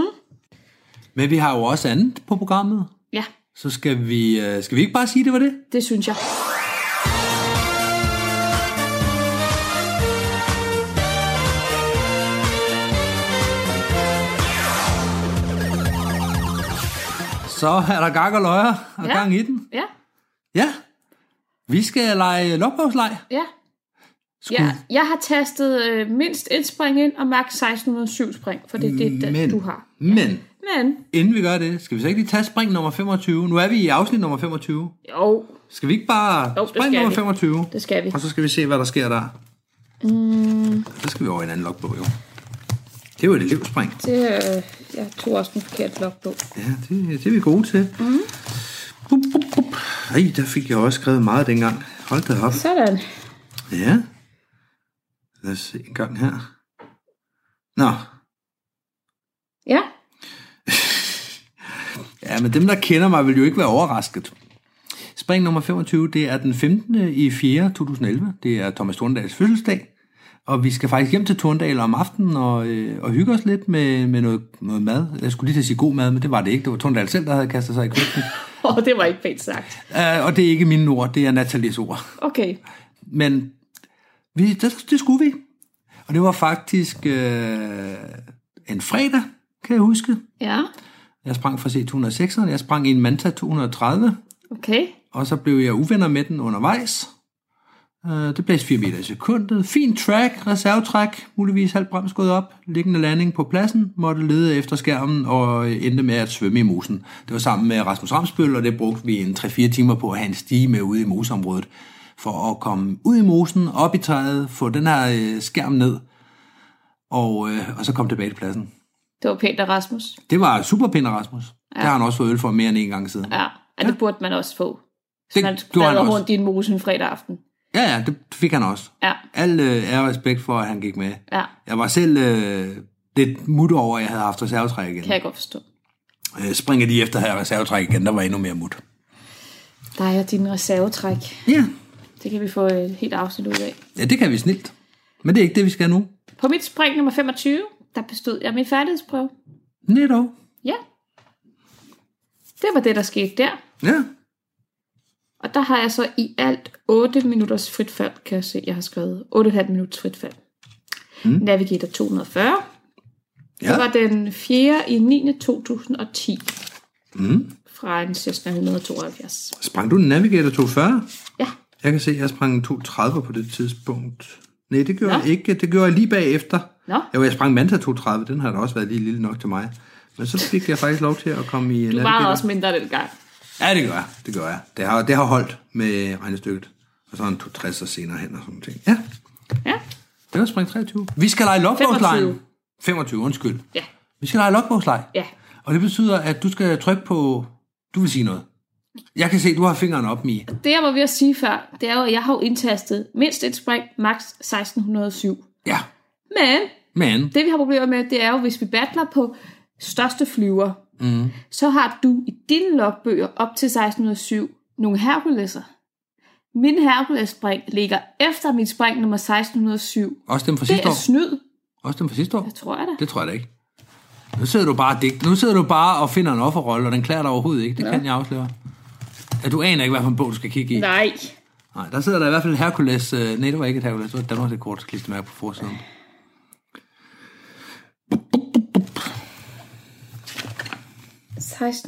B: Men vi har jo også andet på programmet.
C: Ja,
B: Så skal vi, øh, skal vi ikke bare sige, det var det?
C: det synes jeg.
B: Så er der gak og løjer og ja.
C: Ja.
B: gang i den.
C: Ja,
B: Ja. Vi skal lege lopbogslej.
C: ja.
B: Skulle-
C: Ja, jeg har tastet øh, mindst et spring ind og maks 1607 spring, for det er det, den,
B: Men,
C: du har.
B: men
C: Men,
B: inden vi gør det, skal vi så ikke lige tage spring nummer 25? Nu er vi i afsnit nummer 25.
C: jo,
B: Skal vi ikke bare
C: Jo, det
B: spring
C: skal
B: nummer
C: vi.
B: 25?
C: det skal vi.
B: Og så skal vi se, hvad der sker der. Mm. Så skal vi over i en anden logbog, jo. Det var et elevspring.
C: Det, øh, jeg tog også den forkerte logbog.
B: Ja, det, det er vi gode til. Mm. Bup, bup, bup. Ej, der fik jeg også skrevet meget dengang. Hold da op.
C: Sådan.
B: Ja. Lad os se en gang her. Nå.
C: Ja,
B: Ja, men dem, der kender mig, vil jo ikke være overrasket. Spring nummer 25, det er den 15. i 4. 2011. Det er Thomas Thorndals fødselsdag. Og vi skal faktisk hjem til Thorndal om aftenen og, øh, og hygge os lidt med, med noget, noget mad. Jeg skulle lige til at sige god mad, men det var det ikke. Det var Thorndal selv, der havde kastet sig i køkkenet.
C: og oh, det var ikke pænt sagt.
B: uh, og det er ikke mine ord, det er Nathalies ord.
C: Okay,
B: Men vi, det, det skulle vi. Og det var faktisk øh, en fredag, kan jeg huske.
C: ja,
B: Jeg sprang fra C206'eren, jeg sprang i en Manta 230,
C: okay.
B: og så blev jeg uvenner med den undervejs. Øh, Det blæste 4 meter i sekundet. Fin track, reservetræk, muligvis halv brems gået op, liggende landing på pladsen, måtte lede efter skærmen og endte med at svømme i mosen. Det var sammen med Rasmus Ramsbøl, og det brugte vi en 3-4 timer på at have en stige med ude i moseområdet, for at komme ud i mosen, op i træet, få den her øh, skærm ned, og, øh, og så komme tilbage til pladsen.
C: Det var pænt af Rasmus.
B: Det var super pind, Rasmus. Ja. Der har han også fået øl for mere end en gang siden.
C: Ja, ja det burde man også få.
B: Det
C: man
B: gjorde han
C: bladrer
B: også.
C: rundt i en mose en fredag aften.
B: Ja, ja, det fik han også.
C: Ja,
B: Al øh, ære og respekt for, at han gik med.
C: ja,
B: Jeg var selv øh, lidt mut over, at jeg havde haft reservetræk igen.
C: kan jeg godt forstå.
B: Øh, springer de efter at have reservetræk igen, der var endnu mere mut.
C: Dig og din reservetræk.
B: Ja.
C: Det kan vi få et helt afsnit ud af.
B: ja, det kan vi snilt. Men det er ikke det, vi skal nu.
C: På mit spring nummer 25, der bestod jeg min færdighedsprøve.
B: Netop.
C: Ja. Det var det, der skete der.
B: Ja.
C: Og der har jeg så i alt 8 minutters frit fald, kan jeg se, jeg har skrevet. 8,5 minutters frit fald. Mm. Navigator 240. Ja.
B: Ja.
C: Det var den 4. i 9. 2010
B: Mm.
C: fra en Cessna 172.
B: Sprang du en Navigator 240?
C: Ja,
B: Jeg kan se, at jeg sprang en 230 på det tidspunkt. Nej, det gjorde
C: Nå.
B: jeg ikke. Det gjorde jeg lige bagefter.
C: Nå.
B: Jo, jeg sprang Manta 230. Den har da også været lige lille nok til mig. Men så fik jeg faktisk lov til at komme i en
C: du var også mindre dengang.
B: Ja, det gør jeg. Det gør jeg. Det har, det har holdt med regnestykket. Og så en 260 senere hen og sådan nogle ting. Ja,
C: Ja,
B: det var spring 23. Vi skal lege logbogslejren.
C: 25.
B: 25, undskyld.
C: ja,
B: Vi skal lege logbogslej.
C: ja.
B: Og det betyder, at du skal trykke på... Du vil sige noget. Jeg kan se, du har fingeren op, Mie.
C: Det jeg var ved at sige før, det er jo, at jeg har jo indtastet mindst et spring, maks 1607.
B: Ja,
C: Men
B: men...
C: det vi har problemer med, det er jo, hvis vi battler på største flyver, mm. så har du i dine logbøger op til 1607 nogle Herkuleser. Min Herkules-spring ligger efter mit spring nummer 1607.
B: Også dem fra
C: Det
B: sidste
C: er
B: år.
C: snyd,
B: Også dem fra sidste år.
C: jeg tror jeg da.
B: Det tror jeg da ikke. Nu sidder du bare og digt. Nu sidder du bare og finder en offerrolle, og den klæder dig overhovedet ikke. Det ja. kan jeg afsløre. Ja, du aner ikke, hvad for en bog du skal kigge i.
C: Nej.
B: Nej, der sidder der i hvert fald en Hercules. Øh, nej, det var ikke et Hercules. Det var et Danmarks rekord klistermærke på forsiden.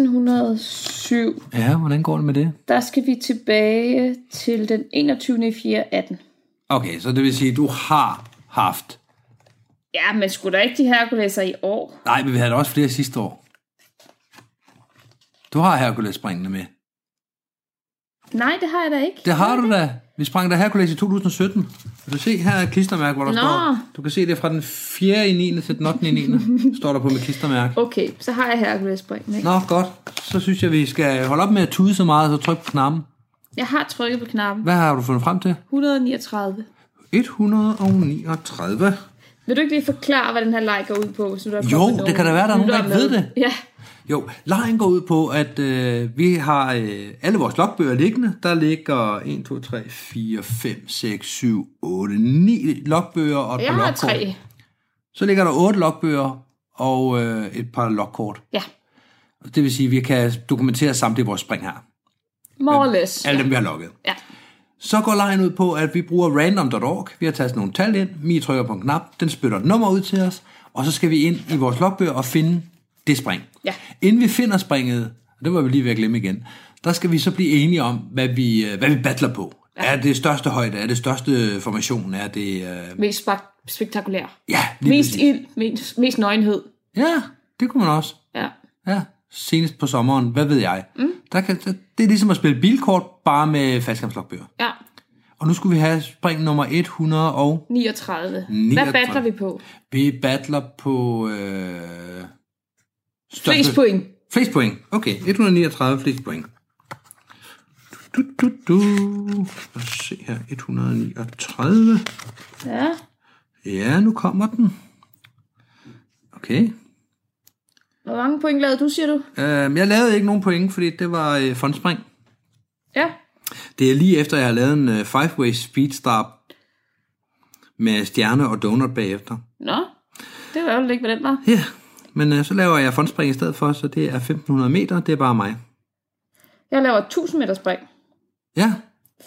C: 1607.
B: Ja, hvordan går det med det?
C: Der skal vi tilbage til den 21. 4. 18.
B: Okay, så det vil sige, at du har haft...
C: Ja, men skulle der ikke de Herkuleser i år?
B: Nej, men vi havde da også flere sidste år. Du har Hercules springende med.
C: Nej, det har jeg da ikke.
B: Det har du da. Vi sprang der Hercules i 2017. Vil du se, her er et klistermærke, hvor der
C: Nå.
B: står... Du kan se det er fra den 4. i 9. til den 8. i 9. står der på mit klistermærke.
C: Okay, så har jeg Herkules-springen. ikke?
B: Nå, godt. Så synes jeg, vi skal holde op med at tude så meget, og så trykke på knappen.
C: Jeg har trykket på knappen.
B: Hvad har du fundet frem til?
C: 139.
B: 139.
C: Vil du ikke lige forklare, hvad den her leg går ud på? Hvis du er
B: Jo, det kan da være, der er nogen, der ikke ved det.
C: Ja,
B: Jo, lejen går ud på, at øh, vi har øh, alle vores logbøger liggende. Der ligger 1, 2, 3, 4, 5, 6, 7, 8, 9 logbøger og et
C: jeg
B: par
C: har
B: logkort.
C: tre.
B: Så ligger der 8 logbøger og øh, et par logkort.
C: Ja,
B: Det vil sige, at vi kan dokumentere samtlige vores spring her.
C: more or less.
B: Alle dem, vi har logget.
C: Ja.
B: Så går lejen ud på, at vi bruger random.org. Vi har tastet nogle tal ind. Mi trykker på en knap. Den spytter et nummer ud til os. Og så skal vi ind i vores logbøger og finde det spring.
C: Ja.
B: Inden vi finder springet, og det var vi lige ved at glemme igen, der skal vi så blive enige om, hvad vi, øh, hvad vi battler på. Ja. Er det største højde? Er det største formation? Er det... Øh...
C: Mest spek- spektakulær.
B: Ja,
C: Mest
B: præcis.
C: ild, mest, mest nøgenhed.
B: Ja, det kunne man også.
C: Ja.
B: Ja, senest på sommeren. Hvad ved jeg? Mm. Der kan, der, det er ligesom at spille bilkort, bare med faldskabslogbøger.
C: ja,
B: Og nu skulle vi have spring nummer 100 og...
C: 39. Hvad
B: 39.
C: battler vi på?
B: Vi battler på... Øh, største-
C: Flest point.
B: Flest point. Okay, 139 flest point. Du, du, du. Lad os se her. 139.
C: Ja.
B: Ja, nu kommer den. Okay.
C: Hvor mange point lavede du, siger du?
B: Øhm, jeg lavede ikke nogen point, fordi det var øh, fondspring.
C: Ja.
B: Det er lige efter, jeg har lavet en øh, five-way speedstar med stjerne og donut bagefter.
C: Nå, det var jo ikke, hvad den var.
B: Ja, men øh, så laver jeg fondspring i stedet for, så det er 1500 meter. Det er bare mig.
C: Jeg laver et 1000 meter spring.
B: Ja,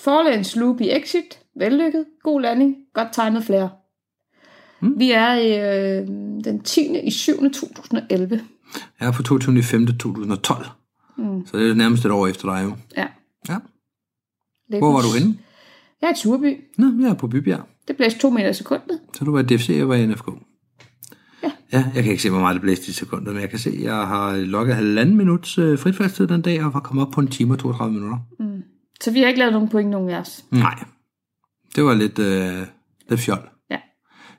C: Forlæns loop i exit. Vellykket. God landing. Godt timet flere. Mm. Vi er øh, den 10. i 7. 2011.
B: Jeg er på 22. 5. 2012. Mm. Så det er nærmest et år efter dig jo.
C: Ja.
B: Ja.
C: Lidt
B: Hvor var du henne?
C: Jeg er i Turby.
B: Nå, jeg er på Bybjerg.
C: Det blæste 2 meter i sekundet.
B: Så du var i DFC, jeg var i NFK. Ja. ja. jeg kan ikke se, hvor meget det blæste i sekundet, men jeg kan se, at jeg har logget halvanden minuts øh, fritfaldstid den dag, og var kommet op på en time og 32 minutter.
C: Hmm. Så vi har ikke lavet nogen point, nogen af os.
B: Mm. Nej, det var lidt, øh, lidt fjol.
C: Ja.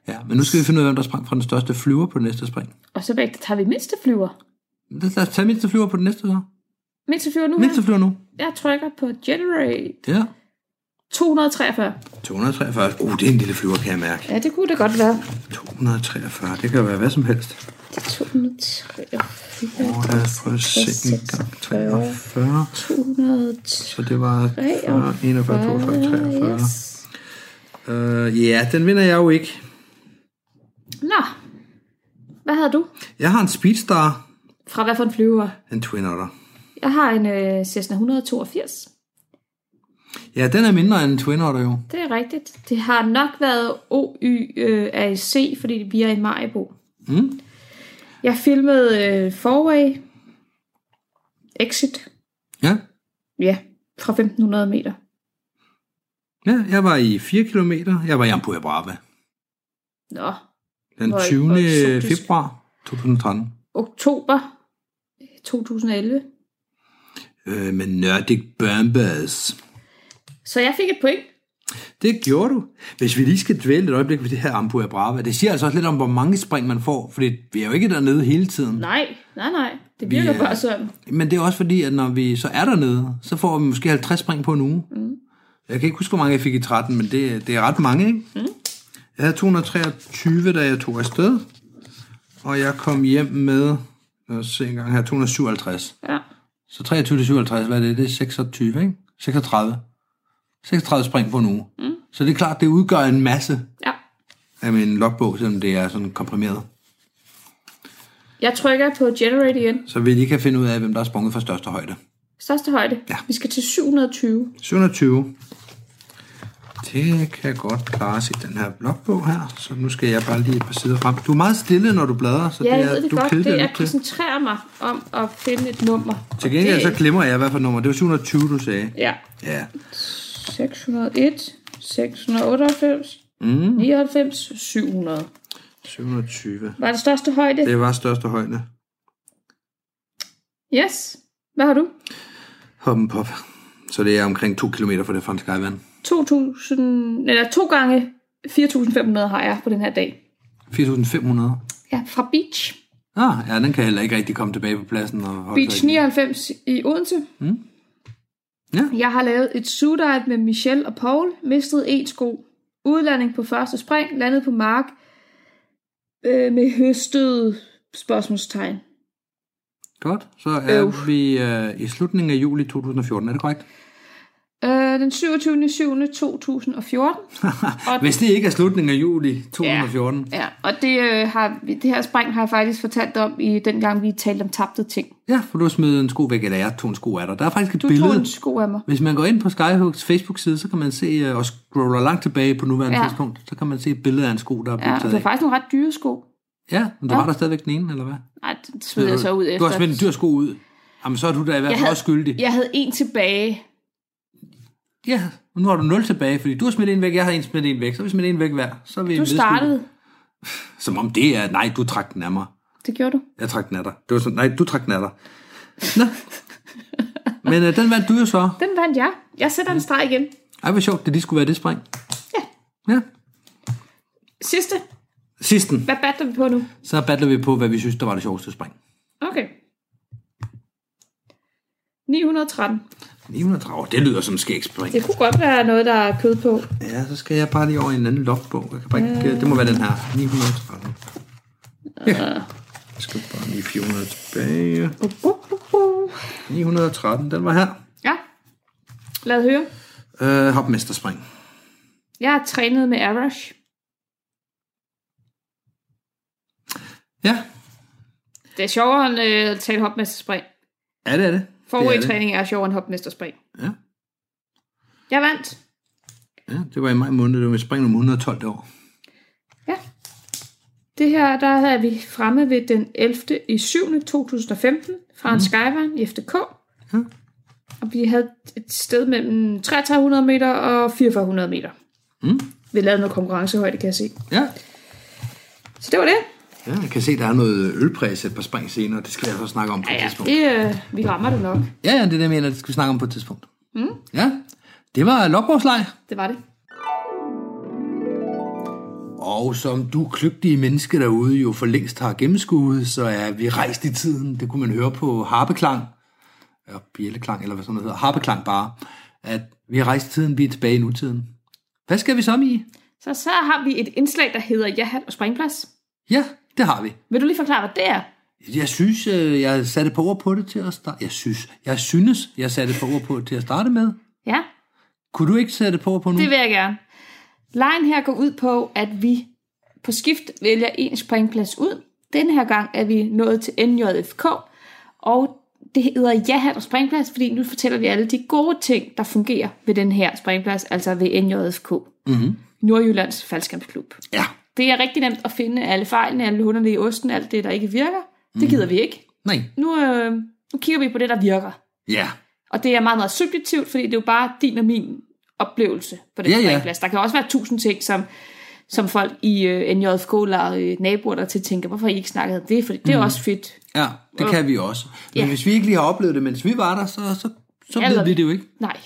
B: Ja, men nu skal vi finde ud af, hvem der sprang fra den største flyver på den næste spring.
C: Og så væk, der tager vi mindste flyver.
B: Lad os tage mindste flyver på den næste så.
C: Mindste flyver nu
B: Mindste
C: her.
B: flyver nu.
C: Jeg trykker på generate
B: Ja.
C: 243.
B: 243. Uh, det er en lille flyver, kan jeg mærke.
C: Ja, det kunne det godt være.
B: 243, det kan være hvad som helst.
C: Det er 243.
B: Og lad os prøve at se en gang 43.
C: 243.
B: Så det var 40, 41, 42, 43.
C: Yes.
B: Øh, ja, den vinder jeg jo ikke.
C: Nå, hvad havde du?
B: Jeg har en Speedstar,
C: Fra hvad for en flyver?
B: en Twin Otter.
C: Jeg har en øh, Cessna 182.
B: Ja, den er mindre end en Twin Otter jo.
C: Det er rigtigt. Det har nok været OYAC, øh, fordi vi er i Majbo.
B: Mm.
C: Jeg filmede øh, Forway Exit.
B: Ja,
C: Ja, fra 1500 meter.
B: ja jeg var i 4 km. Jeg var i Ampua Brava
C: Nå,
B: den
C: Hvor-
B: 20.
C: hvor eksotisk.
B: februar 2013.
C: oktober 2011.
B: Øh, med Nordic Bombers.
C: Så jeg fik et point.
B: Det gjorde du. Hvis vi lige skal dvæle et øjeblik ved det her Ampua Brava, det siger altså også lidt om, hvor mange spring man får, fordi vi er jo ikke dernede hele tiden.
C: Nej, nej, nej. Det
B: Vi øh,
C: virker
B: er-
C: bare sådan.
B: Men det er også fordi, at når vi så er dernede, så får vi måske 50 spring på en uge. Mm. Jeg kan ikke huske, hvor mange jeg fik i 13, men det, det er ret mange, ikke? Mm. Jeg havde 223, da jeg tog afsted, og jeg kom hjem med, lad os se engang her, 257.
C: Ja.
B: Så 23 til 57, hvad er det? Det er 26, ikke? 36. 36 spring på en uge. Mm. Så det er klart, det udgør en masse
C: ja.
B: af min logbog, selvom det er sådan komprimeret.
C: Jeg trykker på generate igen.
B: Så vi lige kan finde ud af, hvem der er sprunget fra største højde.
C: Største højde.
B: Ja.
C: Vi skal til 720.
B: 720. Det kan godt klares i den her blogbog her, så nu skal jeg bare lige et par sider frem. Du er meget stille, når du bladrer, så
C: Ja,
B: det
C: jeg
B: er,
C: ved det
B: du
C: godt.
B: kedelig
C: Det, jeg
B: lidt til.
C: koncentrerer mig om at finde et nummer.
B: Til gengæld
C: Det-
B: så glemmer jeg, hvad for nummer. Det var 720, du sagde.
C: Ja.
B: Ja.
C: 601, 698, mm. 99, 700.
B: 720.
C: Var det største højde?
B: Det var største højde.
C: Yes. Hvad har du?
B: Hoppen pop. Så det er omkring 2 km fra det franske skyvand.
C: 2000, eller to gange 4.500 har jeg på den her dag.
B: 4.500.
C: Ja, fra Beach.
B: Ah, ja, den kan heller ikke rigtig komme tilbage på pladsen. Og holde sig
C: Beach
B: i.
C: 99 i Odense. Mm.
B: Ja.
C: Jeg har lavet et suddive med Michelle og Paul, mistet en sko, udlanding på første spring, landet på mark øh, med høstet spørgsmålstegn.
B: Godt, så er
C: Øv.
B: vi øh, i slutningen af juli 2014, er det korrekt?
C: Øh, den 27. 7. 2014. Og-
B: Hvis det ikke er slutningen af juli 2014, ja,
C: Ja, og det, øh, har, vi- det her spring har jeg faktisk fortalt om i den gang, vi talte om tabte ting.
B: ja for du smed en sko væk, eller jeg tog en sko af dig. Der er faktisk et
C: Du
B: billede.
C: tog en sko af mig.
B: Hvis man går ind på Skyhooks Facebook-side, så kan man se, øh, og scroller langt tilbage på nuværende
C: Ja.
B: ja. tidspunkt, så kan man se et billede af en sko, der er
C: Ja,
B: blevet
C: og
B: taget
C: det er
B: af.
C: faktisk nogle ret dyre sko.
B: Ja, men du
C: Ja.
B: var der stadigvæk den ene, eller hvad?
C: Nej, det smed jeg så ud efter.
B: Du har smidt en dyr sko ud. Jamen, så er du da i hvert
C: Jeg
B: fald
C: havde-
B: også skyldig.
C: Jeg havde en tilbage.
B: Ja, og nu har du 0 tilbage, fordi du har smidt en væk, jeg har en smidt en væk, så har vi smidt en væk hver. Så er vi
C: Du
B: nedskyldige.
C: startede.
B: Som om det er, nej, du trak den af mig.
C: Det gjorde du.
B: Jeg trak den af dig. Det var sådan, nej, du trak den af dig. Nå. Men øh, den vandt du jo så.
C: Den vandt jeg. Jeg sætter en streg igen.
B: Ej, hvor sjovt, det lige skulle være det spring.
C: Ja.
B: Ja.
C: Sidste.
B: Sidsten,
C: Hvad batter vi på nu?
B: så battler vi på, hvad vi synes, der var det sjoveste spring.
C: Okay. 913.
B: 930, Åh, det lyder som skægspring.
C: Det kunne godt være noget, der er kød på.
B: Ja, så skal jeg bare lige over i en anden logbog. Jeg kan bare ikke, det må være den her. 930. Ja. Jeg skal bare lige 400 tilbage.
C: Uh, uh, uh.
B: 913, den var her.
C: Ja. Lad høre.
B: Øh, hopmesterspring.
C: Jeg har trænet med Arash.
B: Ja,
C: Det er sjovere end øh, at tale hopmesterspring.
B: ja det er det. det er
C: Forrige
B: det.
C: træning er sjovere end hopmesterspring.
B: Ja.
C: Jeg vandt.
B: ja, det var i maj måned. Det var mit spring nummer 112 det år.
C: Ja. Det her, der er vi fremme ved den 11. i 7. 2015 fra en mm. skyvand i FDK.
B: Mhm. Ja.
C: Og vi havde et sted mellem 3300 meter og 4400 meter.
B: Mm.
C: Vi lavede noget konkurrencehøjde, kan jeg se.
B: Ja,
C: Så det var det.
B: Ja, jeg kan se, der er noget ølpræs et par spring senere. Det skal jeg så snakke om på
C: Ja,
B: et
C: ja,
B: tidspunkt.
C: det, øh, vi rammer det nok.
B: Ja, ja, det er det, jeg mener, det skal vi snakke om på et tidspunkt. Mm. Ja, det var logbogslej.
C: Det var det.
B: Og som du kløgtige menneske derude jo for længst har gennemskuet, så er vi rejst i tiden. Det kunne man høre på harpeklang. Ja, bjælleklang, eller hvad sådan noget hedder. Harpeklang bare. At vi har rejst i tiden, vi er tilbage i nutiden. Hvad skal vi så i?
C: Så så har vi et indslag, der hedder Jahat og Springplads.
B: Ja, det har vi.
C: Vil du lige forklare, hvad det er?
B: Jeg synes, øh, jeg satte på ord på det til at starte. Jeg synes, jeg synes, jeg satte på ord på det til at starte med.
C: Ja,
B: Kunne du ikke sætte på på nu?
C: Det vil jeg gerne. Lejen her går ud på, at vi på skift vælger en springplads ud. Denne her gang er vi nået til NJFK, og det hedder Jahat og springplads, fordi nu fortæller vi alle de gode ting, der fungerer ved den her springplads, altså ved NJFK. Mm-hmm. Nordjyllands Falskampsklub.
B: Ja.
C: Det er rigtig nemt at finde alle fejlene, alle hunderne i osten, alt det, der ikke virker. Det gider vi ikke.
B: Nej.
C: Nu, øh, nu kigger vi på det, der virker.
B: Ja.
C: Og det er meget, meget subjektivt, fordi det er jo bare din og min oplevelse på den
B: Ja,
C: ja,
B: ja.
C: springplads. Der kan også være tusind ting, som, som folk i øh, NJFK eller øh, naboer der til tænker, hvorfor har I ikke snakkede om det, fordi det er
B: Mm.
C: også fedt.
B: Ja, det kan vi også. Men
C: Ja.
B: hvis vi ikke lige har oplevet det, mens vi var der, så, så, så
C: Eller-
B: ved vi det jo ikke.
C: Nej.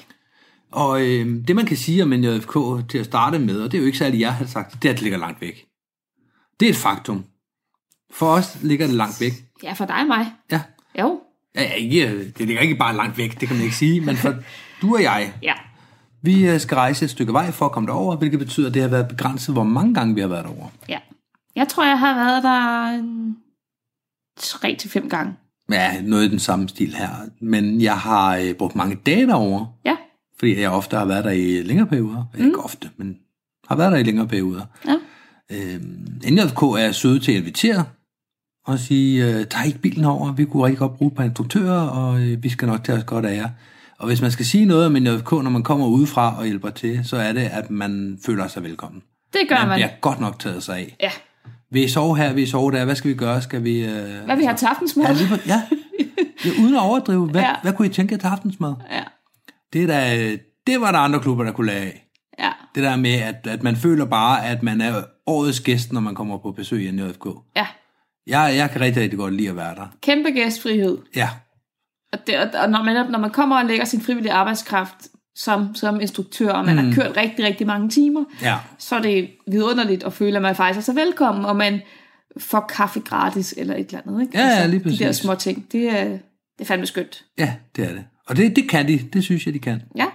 B: Og øh, det, man kan sige om en JFK til at starte med, og det er jo ikke særlig, jeg har sagt, det er, at det ligger langt væk. Det er et faktum. For os ligger det langt væk.
C: Ja, for dig og mig.
B: Ja.
C: Jo.
B: Ja, ja, ikke, det ligger ikke bare langt væk, det kan man ikke sige, men for du og jeg,
C: Ja.
B: vi øh, skal rejse et stykke vej for at komme derover, hvilket betyder, at det har været begrænset, hvor mange gange vi har været derover.
C: ja. Jeg tror, jeg har været der mm, en... 3-5 gange.
B: Ja, noget i den samme stil her. Men jeg har øh, brugt mange dage derover,
C: Ja.
B: fordi jeg ofte har været der i længere perioder. Mm. Ikke ofte, men har været der i længere perioder.
C: Ja.
B: Øhm, NJK er søde til at invitere og sige, øh, tag ikke bilen over, vi kunne rigtig godt bruge et par instruktører, og øh, vi skal nok tage os godt af jer. Og hvis man skal sige noget om NJK, når man kommer udefra og hjælper til, så er det, at man føler sig velkommen.
C: Det gør
B: Man
C: man.
B: bliver godt nok taget sig af.
C: Ja.
B: Vil I sove her? Vil I sove der? Hvad skal vi gøre? Skal vi... Øh,
C: Hvad vi har til aftensmad?
B: Ja, lige på, ja. ja, uden at overdrive. Hvad, ja.
C: Ja.
B: hvad kunne I tænke jer til aftensmad?
C: Ja.
B: Det, er da, det var der andre klubber, der kunne lade af.
C: Ja.
B: Det der med, at, at man føler bare, at man er årets gæst, når man kommer på besøg i NJFK.
C: Ja.
B: Jeg, jeg kan rigtig, rigtig godt lide at være der.
C: Kæmpe gæstfrihed.
B: Ja,
C: Og, det, og, og når, man, når man kommer og lægger sin frivillige arbejdskraft som, som instruktør, og man mm. har kørt rigtig, rigtig mange timer,
B: ja.
C: så er det vidunderligt at føle, at man faktisk er så velkommen, og man får kaffe gratis eller et eller andet. Ikke? Altså,
B: Ja, ja, lige præcis.
C: De der små ting, det er, det er fandme skønt.
B: Ja, det er det. Og det, det kan de. Det synes jeg, de kan.
C: Ja,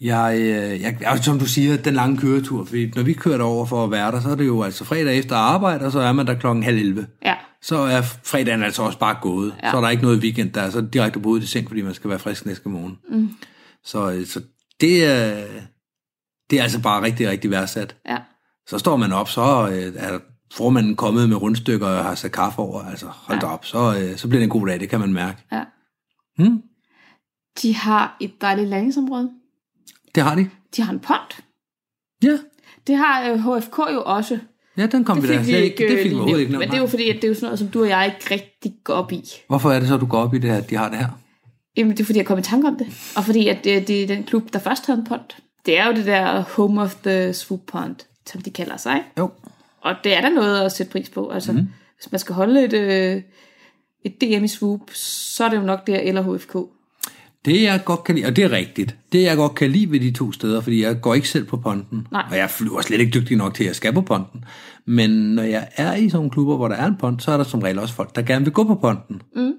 B: Jeg, øh, jeg, og som du siger, den lange køretur. Fordi når vi kører over for at være der, så er det jo altså fredag efter arbejde, og så er man der klokken halv 11.
C: ja,
B: så er fredagen altså også bare gået. Ja.
C: Ja.
B: Så er der ikke noget weekend der, er så direkte på hovedet i seng, fordi man skal være frisk næste morgen. Mm. Så, øh, så det, er, det er altså bare rigtig, rigtig værdsat.
C: ja.
B: Så står man op, så øh, er formanden kommet med rundstykker og har sat kaffe over. Altså hold da op, så, øh, så bliver det en god dag, det kan man mærke.
C: Ja.
B: Hmm?
C: De har et dejligt landingsområde.
B: Det har de.
C: De har en pond.
B: Ja,
C: Det har øh, HFK jo også.
B: ja den kom
C: Det
B: vi da
C: fik vi
B: slet
C: ikke,
B: altså, Det
C: øh,
B: fik vi
C: lige
B: overhovedet
C: nævnt,
B: ikke
C: men
B: nævnt.
C: det er jo fordi, at det er jo sådan noget, som du og jeg ikke rigtig går op i.
B: Hvorfor er det så, du går op i det her, at de har det her?
C: Jamen, det er fordi, jeg kom i tanke om det. Og fordi, at øh, det, det er den klub, der først havde en pond. Det er jo det der home of the swoop pond, som de kalder sig. Ikke?
B: Jo.
C: Og det er der noget at sætte pris på. Altså,
B: Mhm.
C: mm. hvis man skal holde et, øh, et DM i swoop, så er det jo nok der eller HFK.
B: Det jeg godt kan lide, og det er rigtigt, det jeg godt kan lide ved de to steder, fordi jeg går ikke selv på ponten,
C: Nej.
B: og jeg flyver slet ikke dygtig nok til, at jeg skal på ponten. Men når jeg er i sådan nogle klubber, hvor der er en pont, så er der som regel også folk, der gerne vil gå på ponten. Mm.